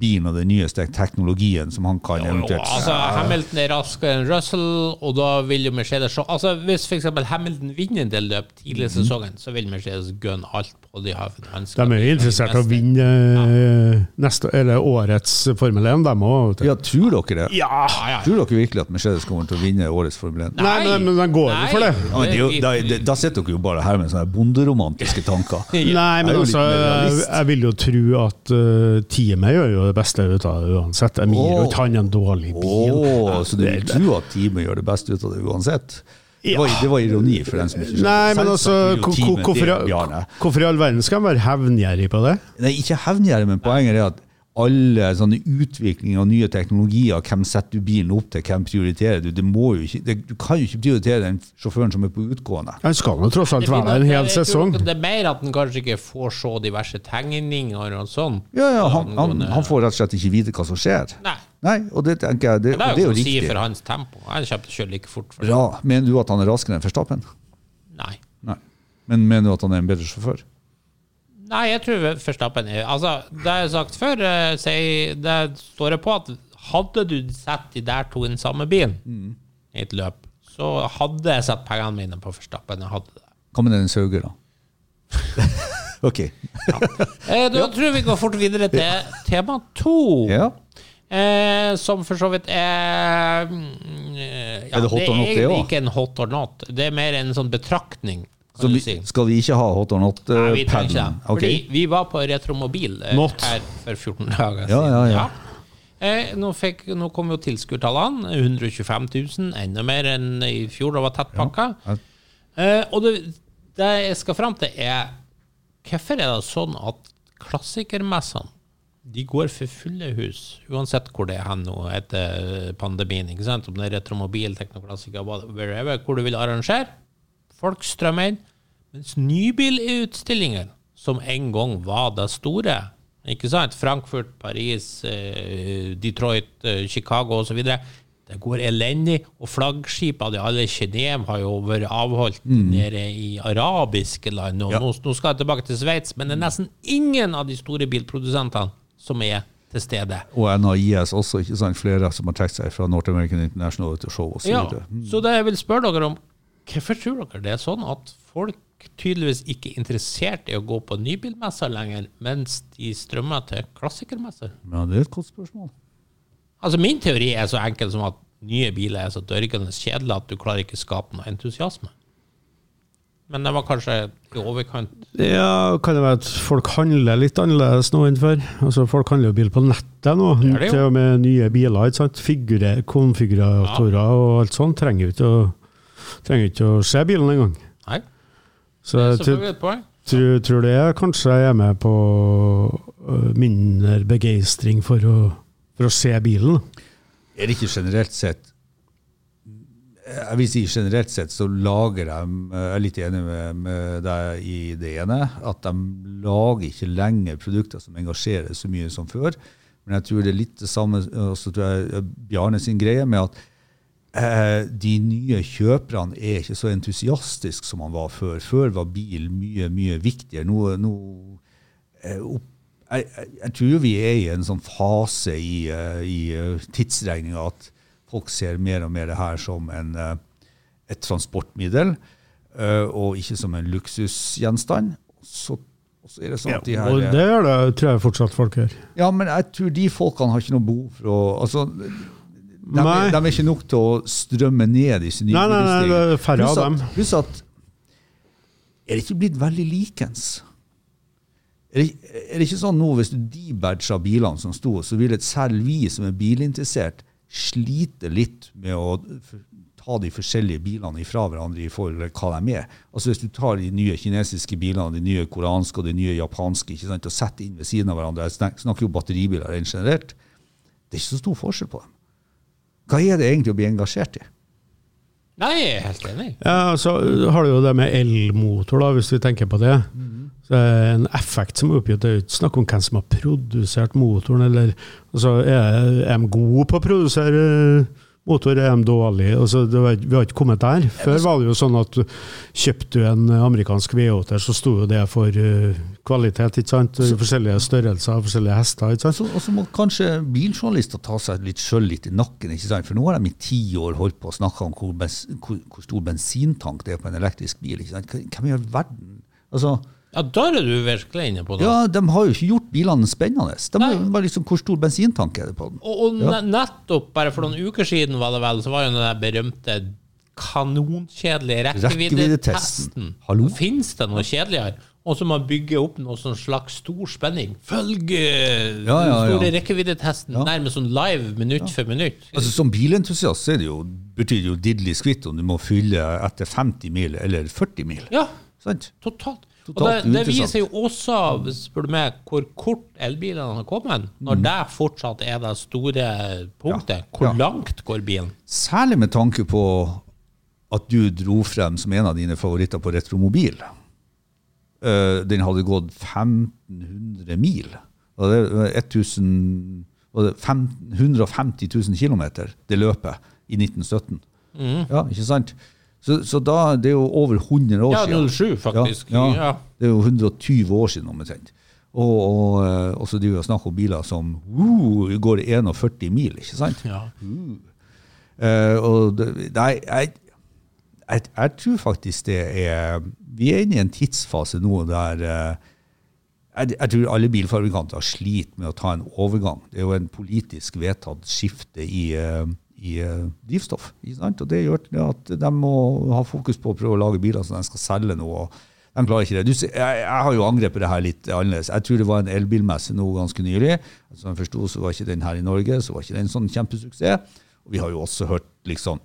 S4: bil med den nyeste teknologien som han kan eventuelt
S3: Altså, Hamilton er raskere enn Russell, og da vil jo Mercedes se altså, Hvis f.eks. Hamilton vinner en del løp tidlig i
S4: Mhm.
S3: sesongen, så vil Mercedes gønne alt på de har
S5: De er jo interessert i å vinne eh, neste, eller årets Formel 1, de òg.
S4: Ja, tror dere det?
S5: Ja.
S3: Ja, ja.
S4: Tror dere virkelig at Mercedes kommer til å vinne årets Formel 1?
S5: Nei, men- men de går jo for det.
S4: Ja, men det er jo, da, det- da sitter dere jo bare her med sånne bonderomantiske
S5: [LAUGHS]
S4: tanker.
S5: Nei, men
S4: Jeg er jo
S5: altså,
S4: litt mer
S5: jeg,
S4: realist.
S5: jeg vil jo tro at eh, teamet gjør jo det beste ut av det uansett. De gir jo ikke han en dårlig bil.
S4: Åh, så du tror at teamet gjør det beste ut av det uansett? Det var, det var ironi for den som ikke skjønte.
S5: Nei,
S4: Selvsagt
S5: men altså,
S4: vil jo
S5: hvor-
S4: teamet
S5: hvor- hvorfor,
S4: det, Bjarne.
S5: hvorfor i all verden skal de være hevngjerrig på det?
S4: Nei, ikke hevngjerrig, men poenget er at alle sånne utvikling av nye teknologier, hvem setter du bilen opp til, hvem prioriterer du? Det må jo ikke, det, du kan jo ikke prioritere den sjåføren som er på utgående.
S5: Han skal jo tross alt være der en hel
S3: Jeg tror
S5: sesong.
S3: Det er mer at han kanskje ikke får se diverse tegninger og sånn.
S4: Ja, ja, han, han, han får rett og slett ikke vite hva som skjer.
S3: Nei.
S4: Nei, og det tenker jeg, det,
S3: Men det
S4: og
S3: er
S4: det
S3: jo
S4: er jo
S3: ikke å si
S4: riktig.
S3: for hans tempo. Han kommer til å kjøre like fort. For det.
S4: Bra. Mener du at han er raskere enn Verstappen?
S3: Nei.
S4: Nei. Men mener du at han er en bedre sjåfør?
S3: Nei, jeg tror Verstappen er Altså, det har jeg sagt før, eh, sier- det står jeg på at hadde du satt de der to i den samme bilen
S4: Mm.
S3: i et løp, så hadde jeg satt pengene mine på Verstappen. Jeg hadde det.
S4: Hva med den Sauger, [LAUGHS] da? ok.
S3: Eh, Da tror jeg vi går fort videre til tema to.
S4: Ja.
S3: Eh, som for så vidt er mm, ja,
S4: Er det hot or not, det
S3: egentlig
S4: også?
S3: ikke en hot or not. Det er mer en sånn betraktning.
S4: Så
S3: Kan
S4: vi,
S3: du si.
S4: skal vi ikke ha hot or eh,
S3: Nei, vi trenger ikke
S4: not-paden?
S3: det. Fordi vi var på Retromobil eh,
S5: Not.
S3: her for 14 dager siden.
S4: Ja, ja, ja.
S3: Eh, nå, fikk, nå kom jo tilskuertallene. 125 000, enda mer enn i fjor. Det var tett pakka.
S4: Ja.
S3: Eh, og det, det jeg skal fram til, er hvorfor er det sånn at klassikermessene de går for fulle hus, uansett hvor det er hen nå etter pandemien. ikke sant? Om det er retromobil, teknoklassiker, wherever, hvor du vil arrangere. Folk strømmer inn. Mens nybilutstillingen, som en gang var det store ikke sant? Frankfurt, Paris, eh, Detroit, eh, Chicago osv. Det går elendig. Og flaggskipene de alle i Genéve har jo vært avholdt nede i arabiske land. Og nå, nå skal jeg tilbake til Sveits, men det er nesten ingen av de store bilprodusentene som er til stede.
S4: Og NAIS også, ikke sant? Flere som har trukket seg fra North American International til show osv.
S3: Ja,
S4: videre
S3: så det jeg vil spørre dere om, hvorfor tror dere det er sånn at folk tydeligvis ikke er interessert i å gå på nybilmesser lenger, mens de strømmer til klassikermesser?
S4: Ja, det er et godt spørsmål.
S3: Altså Min teori er så enkel som at nye biler er så dørgende kjedelige at du klarer ikke å skape noe entusiasme. Men det var kanskje i overkant
S5: Ja, kan det være at folk handler litt annerledes nå enn før? Altså, folk handler jo bil på nettet nå,
S3: Det er det jo.
S5: til og med nye biler. ikke sant? Figure, konfiguratorer og alt sånt. Trenger jo ikke å, trenger jo ikke å se bilen engang.
S3: Nei,
S5: Så
S3: det er
S5: jeg tror,
S3: selvfølgelig et poeng.
S5: tror, tror det er kanskje jeg er med på øh, mindre begeistring for å, for å se bilen.
S4: Er det ikke generelt sett Jeg vil si generelt sett så lager de Jeg er litt enig med, med deg i det ene, at de lager ikke lenger produkter som engasjerer så mye som før. Men jeg tror det er litt det samme også tror jeg, Bjarne sin greie med at eh, de nye kjøperne er ikke så entusiastiske som han var før. Før var bil mye, mye viktigere. Nå, nå jeg, jeg, jeg tror jo vi er i en sånn fase i, uh, i tidsregninga at folk ser mer og mer det her som en, eh, et transportmiddel, eh, og ikke som en luksusgjenstand. Så, så er det sånn at de her eh,
S5: Og det gjør det, tror jeg fortsatt folk gjør.
S4: Ja, men jeg tror de folkene har ikke noe behov for å altså, de, de,
S5: Nei.
S4: er ikke nok til å strømme ned disse nye
S5: Nei, nei, nei,
S4: bilistene.
S5: det er færre
S4: Pluss at-
S5: av dem.
S4: Pluss at Er det ikke blitt veldig likens? Er det, er det ikke sånn nå hvis du debadger bilene som sto, så vil et selv vi som er bilinteressert, slite litt med å f- ta de forskjellige bilene ifra hverandre i forhold til hva de er. Altså Hvis du tar de nye kinesiske bilene, de nye koreanske og de nye japanske ikke sant, og setter inn ved siden av hverandre Jeg snak- snakker jo batteribiler rent generelt. Det er ikke så stor forskjell på dem. Hva er det egentlig å bli engasjert i?
S3: Nei, jeg er helt enig.
S5: Ja, så har du jo det med elmotor, da, hvis vi tenker på det. Så er det en effekt som er oppgitt. Det er jo ikke snakk om hvem som har produsert motoren, eller altså, er, er de gode på å produsere eh, motor er de dårlig. Altså, det var, vi har ikke kommet der. Før var det jo sånn at kjøpte du en amerikansk V8, så sto jo det for eh, kvalitet, ikke sant? Forskjellige størrelser, forskjellige hester, ikke sant?
S4: Så- Og så må kanskje biljournalister ta seg litt sjøl litt i nakken. ikke sant? For nå har de i ti år holdt på å snakke om hvor, bens, hvor, hvor stor bensintank det er på en elektrisk bil. ikke sant? Hvem i all verden Altså,
S3: Ja, da er du virkelig inne på noe.
S4: ja, De har jo ikke gjort bilene spennende. De har jo
S3: Nei.
S4: bare liksom, Hvor stor bensintank er det på den?
S3: Og, og ne- nettopp, bare for noen uker siden var det vel, så var jo den der berømte kanonkjedelige rekkeviddetesten.
S4: Rekkeviddetesten. Hallo?
S3: Fins det noe kjedeligere? Og så man bygger opp noe sånn slags stor spenning. Følge den
S4: Ja, ja, ja.
S3: store rekkeviddetesten nærmest sånn live minutt for minutt.
S4: Altså, Som bilentusiast så er det jo, betyr det jo diddelig skvitt om du må fylle etter 50 mil eller 40 mil.
S3: Ja,
S4: Sant?
S3: totalt. Og det,
S4: Totalt
S3: det
S4: uinteressant.
S3: viser jo også, spør du meg, hvor kort elbilene har kommet, når det fortsatt er det store punktet. Hvor
S4: Mm. Ja.
S3: langt går bilen?
S4: Særlig med tanke på at du dro frem som en av dine favoritter på retromobil. Eh, den hadde gått 1500 mil. Og det var 1000, og det 15 150 000 km, det løpet, i 1917.
S3: Mhm.
S4: Ja, ikke sant? Så, så da, det er jo over 100 år
S3: Ja, 07
S4: siden.
S3: faktisk.
S4: Ja, ja.
S3: Ja.
S4: Det er jo 120 år siden omtrent. Og, og, eh, og så driver vi og snakker om biler som uh, går 41 mil, ikke sant?
S3: Ja.
S4: Eh, og det, nei, jeg, jeg, jeg tror faktisk det er Vi er inne i en tidsfase nå der eh, jeg, jeg tror alle bilfabrikanter sliter med å ta en overgang. Det er jo en politisk vedtatt skifte i, eh, i eh, drivstoff. Ikke sant? Og det gjør det at de må ha fokus på å prøve å lage biler som de skal selge nå. og de klarer ikke det. Du, ser- jeg, jeg har jo angrepet det her litt annerledes. Jeg tror det var en elbilmesse nå ganske nylig. Som jeg forsto, så var ikke den her i Norge. Så var ikke den sånn kjempesuksess. Og vi har jo også hørt liksom,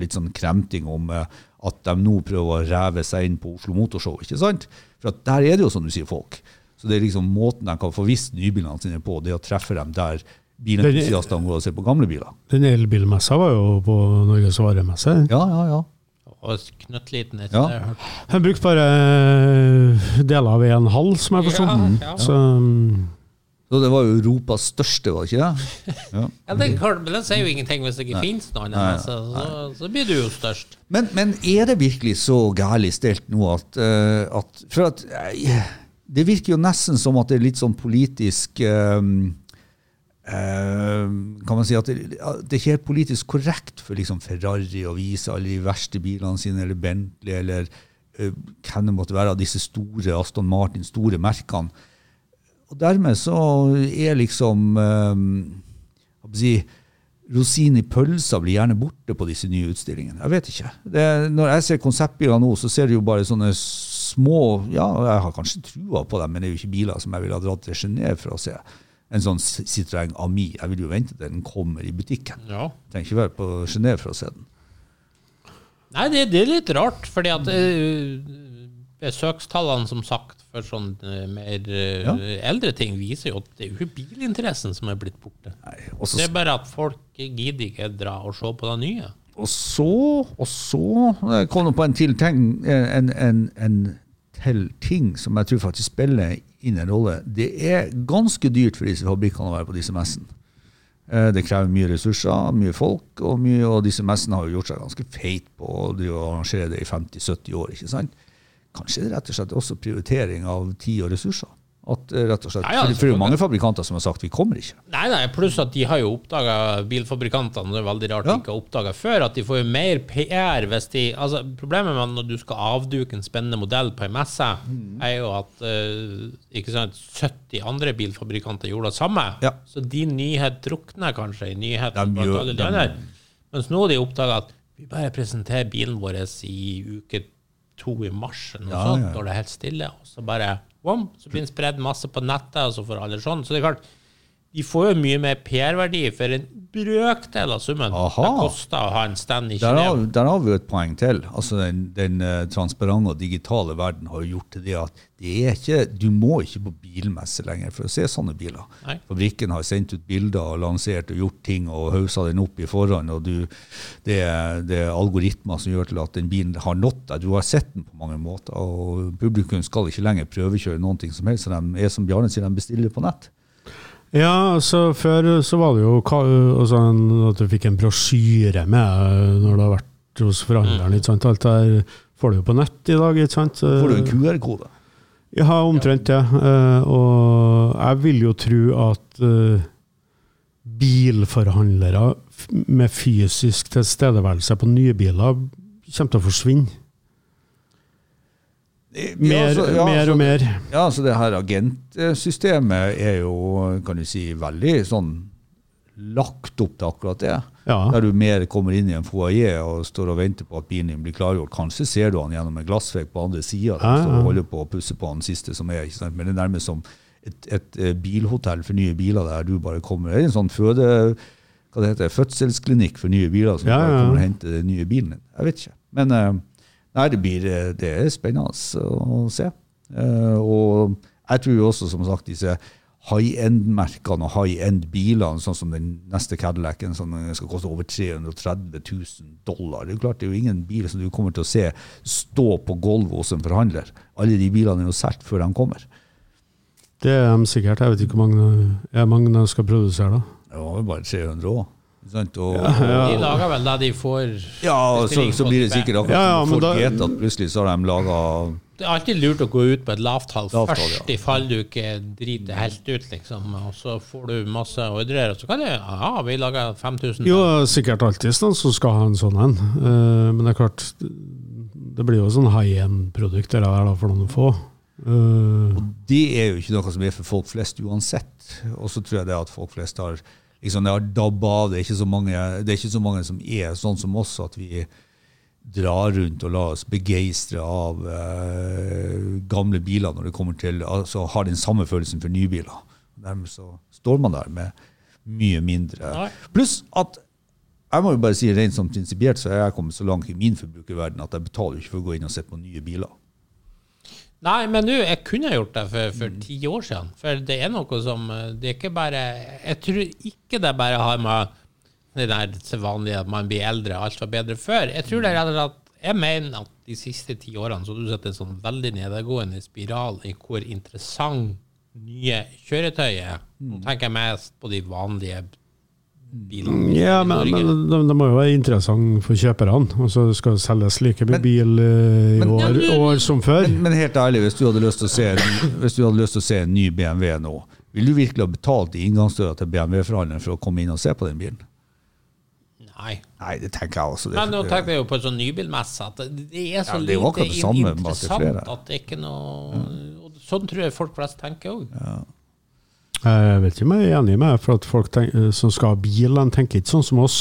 S4: litt sånn [CLEARS THROAT] kremting om eh, at de nå prøver å reve seg inn på Oslo Motorshow, ikke sant? For at der er det jo som du sier, folk. Så det er liksom måten de kan få visst nybilene sine på, det er å treffe dem der bilentusiastene går og ser på gamle biler.
S5: Den elbilmessa var jo på Norges varemesse.
S4: Ja, ja, ja.
S3: Og knøttliten etter
S4: Ja.
S3: det. jeg har hørt.
S5: Jeg brukte bare eh, deler av en halv, som jeg forsto.
S3: Ja, ja.
S5: Så mm,
S4: Så det var jo Europas største, var det ikke det? Ja.
S3: Ja, det, er klart, men det sier jo ingenting hvis det ikke finnes noe annet. Så, så, så blir du jo størst.
S4: Men, men er det virkelig så gærlig stelt nå at, eh, at For at eh, det virker jo nesten som at det er litt sånn politisk eh, eh, Kan man si at det, at det ikke er politisk korrekt for liksom Ferrari å vise alle de verste bilene sine, eller Bentley, eller eh, hvem det måtte være av disse store Aston Martin, store merkene. Og dermed så er liksom eh, hva skal jeg si, Rosin i pølsa blir gjerne borte på disse nye utstillingene. Jeg vet ikke. Det, når jeg ser konseptbiler nå, så ser du jo bare sånne små Ja, jeg har kanskje trua på dem, men det er jo ikke biler som jeg ville ha dratt til Genève for å se. En sånn Citroën Ami. Jeg vil jo vente til den kommer i butikken.
S3: Ja.
S4: Trenger ikke være på Genève for å se den.
S3: Nei, det, det er litt rart, fordi at eh, besøkstallene, som sagt, for sånn eh, mer eh,
S4: Ja.
S3: eldre ting, viser jo at det er jo ikke bilinteressen som er blitt borte.
S4: Nei, og så
S3: Det er bare at folk gidder ikke dra og se på det nye.
S4: Og så, og så eh, kom det på en til ting, eh, en, en, en til ting som jeg tror faktisk spiller inn en rolle. Det er ganske dyrt for disse fabrikkene å være på disse messene. Eh, Det krever mye ressurser, mye folk, og, mye, og disse messene har jo gjort seg ganske feit på å drive og arrangere det i 50-70 år. ikke sant? Kanskje det er rett og slett også prioritering av tid og ressurser. At, eh, rett og slett,
S3: Ja, ja,
S4: for, for det er jo mange fabrikanter som har sagt vi kommer ikke.
S3: Nei, nei, pluss at de har jo oppdaga bilfabrikantene, det er veldig rart
S4: Ja.
S3: de ikke har oppdaga før, at de får jo mer PR hvis de altså Problemet med når du skal avduke en spennende modell på en messe,
S4: Mm.
S3: er jo at eh, ikke sant, 70 andre bilfabrikanter gjorde det samme.
S4: Ja.
S3: Så din nyhet drukner kanskje i nyheten
S4: De
S3: blant
S4: gjør-
S3: alle
S4: de-
S3: de andre. Mens nå har de oppdaga at vi bare presenterer bilen vår i uke to i mars, eller noe
S4: Ja,
S3: sånt,
S4: ja.
S3: når det er helt stille. Og så bare bom, så blir den spredd masse på nettet, og så får alle sånn. Så det er klart, de får jo mye mer PR-verdi for en brøkdel av summen
S4: Aha.
S3: det koster å ha en stand i
S4: Der har,
S3: Kina.
S4: der har vi jo et poeng til. Altså Den, den eh, transparente og digitale verden har jo gjort til det at det er ikke, du må ikke på bilmesse lenger for å se sånne biler.
S3: Nei.
S4: Fabrikken har sendt ut bilder og lansert og gjort ting og hausa den opp i forhånd. og du, det, er- det er algoritmer som gjør til at den bilen har nådd deg. Du har sett den på mange måter. og Publikum skal ikke lenger prøvekjøre noen ting som helst. så De er som Bjarne sier, de bestiller på nett.
S5: Ja, altså før så var det jo ka- altså, en- at du fikk en brosjyre med eh, når du har vært hos forhandleren. ikke sant? Alt det her får du jo på nett i dag. ikke sant? Eh,
S4: Får du en QR-kode?
S5: Ja, omtrent det. Eh, Og jeg vil jo tro at eh, bilforhandlere f- med fysisk tilstedeværelse på nye biler kommer til å forsvinne. Mer,
S4: ja, altså, så, ja,
S5: mer
S4: så,
S5: og mer.
S4: Ja, så det her agentsystemet er jo, kan du si, veldig sånn lagt opp til akkurat det.
S5: Ja.
S4: Der du mer kommer inn i en foajé og står og venter på at bilen din blir klargjort. Kanskje ser du han gjennom en glassvegg på andre sida.
S5: Ja, ja.
S4: og holder på å pusse på han siste som er. Ikke sant? Men det er nærmest som et, et eh, bilhotell for nye biler der du bare kommer. Det er en sånn føde, hva det heter, fødselsklinikk for nye biler som
S5: Ja,
S4: bare
S5: ja.
S4: kommer og henter den nye bilen din. Jeg vet ikke. Men eh, nei, det, blir, eh, det er spennende å se. Eh, og jeg tror jo også, som sagt, disse high end-merkene og high end-bilene, sånn som den neste Cadillacen, som skal koste over 330 000 dollar. Det er jo klart, det er jo ingen bil som du kommer til å se stå på gulvet hos en forhandler. Alle de bilene er jo solgt før de kommer.
S5: Det er de sikkert. Jeg vet ikke hvor mange, er det mange de skal produsere, da.
S4: Det var jo bare 300 òg. Ikke sant? Og,
S3: De lager vel det de får
S4: Ja,
S3: Hvis det
S4: så,
S3: ligger
S4: så
S3: på
S4: blir det
S3: tippet.
S4: sikkert akkurat
S5: Ja, ja,
S4: som
S5: men
S4: folk
S5: da-
S4: vet at plutselig så har de laga
S3: Det er alltid lurt å gå ut på et lavt tall
S4: Lavt tall,
S3: først, i fall du ikke driter helt ut, liksom. Og så får du masse ordrer, og så kan det Ja, vi lager 5000.
S5: Jo, det er sikkert alltid noen som skal ha en sånn en. Eh, Men det er klart, det blir jo sånn high end-produkt det der da, for noen få. Eh,
S4: Det er jo ikke noe som er for folk flest uansett. Og så tror jeg det at folk flest har liksom, det har dabba av. Det er, ikke så mange, det er ikke så mange som er sånn som oss, at vi drar rundt og lar oss begeistre av eh, gamle biler når det kommer til altså har den samme følelsen for nye biler. Dermed så står man der med mye mindre.
S3: Nei.
S4: Pluss at jeg må jo bare si rent sånn prinsipielt så er jeg kommet så langt i min forbrukerverden at jeg betaler jo ikke for å gå inn og se på nye biler.
S3: Nei, men du, jeg kunne gjort det for, for ti år siden. For det er noe som eh, Det er ikke bare Jeg tror ikke det bare har med det der vanlige at man blir eldre og alt var bedre før. Jeg tror det er rett og slett Jeg mener at de siste ti årene så har du sett en sånn veldig nedadgående spiral i hvor interessant nye kjøretøy er. Nå tenker jeg mest på de vanlige bilene.
S5: Ja,
S3: i
S5: men,
S3: Norge.
S5: men det, det må jo være interessant for kjøperne. Og så skal det selges like mye bil eh, i år, år som før.
S4: Men helt ærlig, hvis du hadde lyst til å se en, hvis du hadde lyst til å se en ny BMW nå, vil du virkelig ha betalt i inngangsdøra til BMW-forhandleren for å komme inn og se på den bilen?
S3: Nei.
S4: Nei, det tenker jeg også. Det,
S3: Men nå tenker jeg jo på en sånn nybilmesse at det det er så
S4: Ja, det er jo
S3: lite
S4: akkurat det samme, bare til
S3: interessant
S4: flere.
S3: at det ikke er noe og Sånn tror jeg folk flest tenker òg.
S5: Jeg vet ikke om jeg er enig med deg, for at folk tenk, eh, som skal ha bil, de tenker ikke sånn som oss.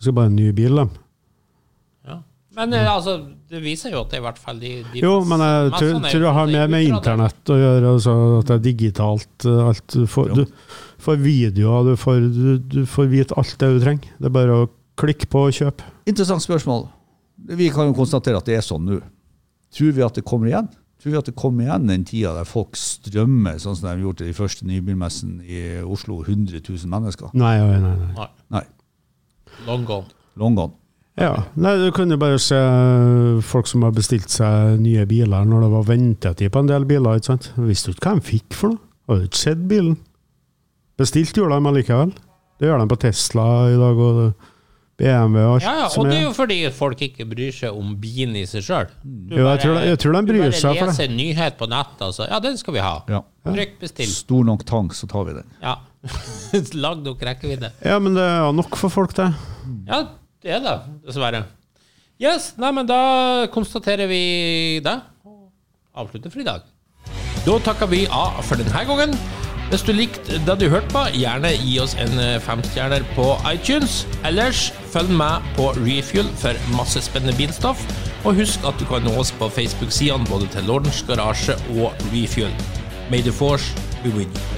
S5: De skal bare ha en ny bil, de.
S3: Ja. Men eh, altså, det viser jo at det er i hvert fall de, de
S5: Jo, men jeg
S3: messene
S5: tror,
S3: er
S5: tror det har mer med
S3: utradert.
S5: internett å gjøre. Altså, at det er digitalt. eh, Alt. Du, får, du får videoer, du får, du, du får vite alt det du trenger. Det er bare å klikke på og kjøpe.
S4: Interessant spørsmål. Vi kan jo konstatere at det er sånn nå. Tror vi at det kommer igjen? Tror vi at det kommer igjen den tida der folk strømmer, sånn som de gjorde til de første nybilmessen i Oslo, 100 000 mennesker?
S5: Nei, nei, nei. nei.
S3: Nei,
S4: Nei,
S3: long gone.
S4: long gone.
S5: Ja, nei, Du kunne bare se eh, folk som har bestilt seg nye biler når det var ventetid på en del biler. ikke sant? Visste du ikke hva de fikk for noe? Har du ikke sett bilen? Bestilt gjorde de allikevel. Det gjør de på Tesla i dag og BMW og alt
S3: Ja, ja,
S5: som
S3: og det er
S5: er.
S3: jo fordi folk ikke bryr seg om bilen i seg sjøl.
S5: Jo, jeg tror de- jeg tror de bryr seg for
S3: Du
S5: det.
S3: bare leser en nyhet på nettet og så Ja, den skal vi ha.
S4: Ja.
S3: Trykk bestill.
S4: Stor nok tank, så tar vi den.
S3: Ja. [LAUGHS] Lag nok rekkevidde.
S5: Ja, men det er nok for folk, det.
S3: Ja, det er det, dessverre. Yes, nei, men da konstaterer vi det, og avslutter for i dag. Da takker vi av for denne gangen. Hvis du likte det du hørte på, gjerne gi oss en eh, femstjerner på iTunes. Ellers følg med på Refuel for masse spennende bilstoff. Og husk at du kan nå oss på Facebook-sidene både til Lordens Garasje og Refuel. May the force be with you.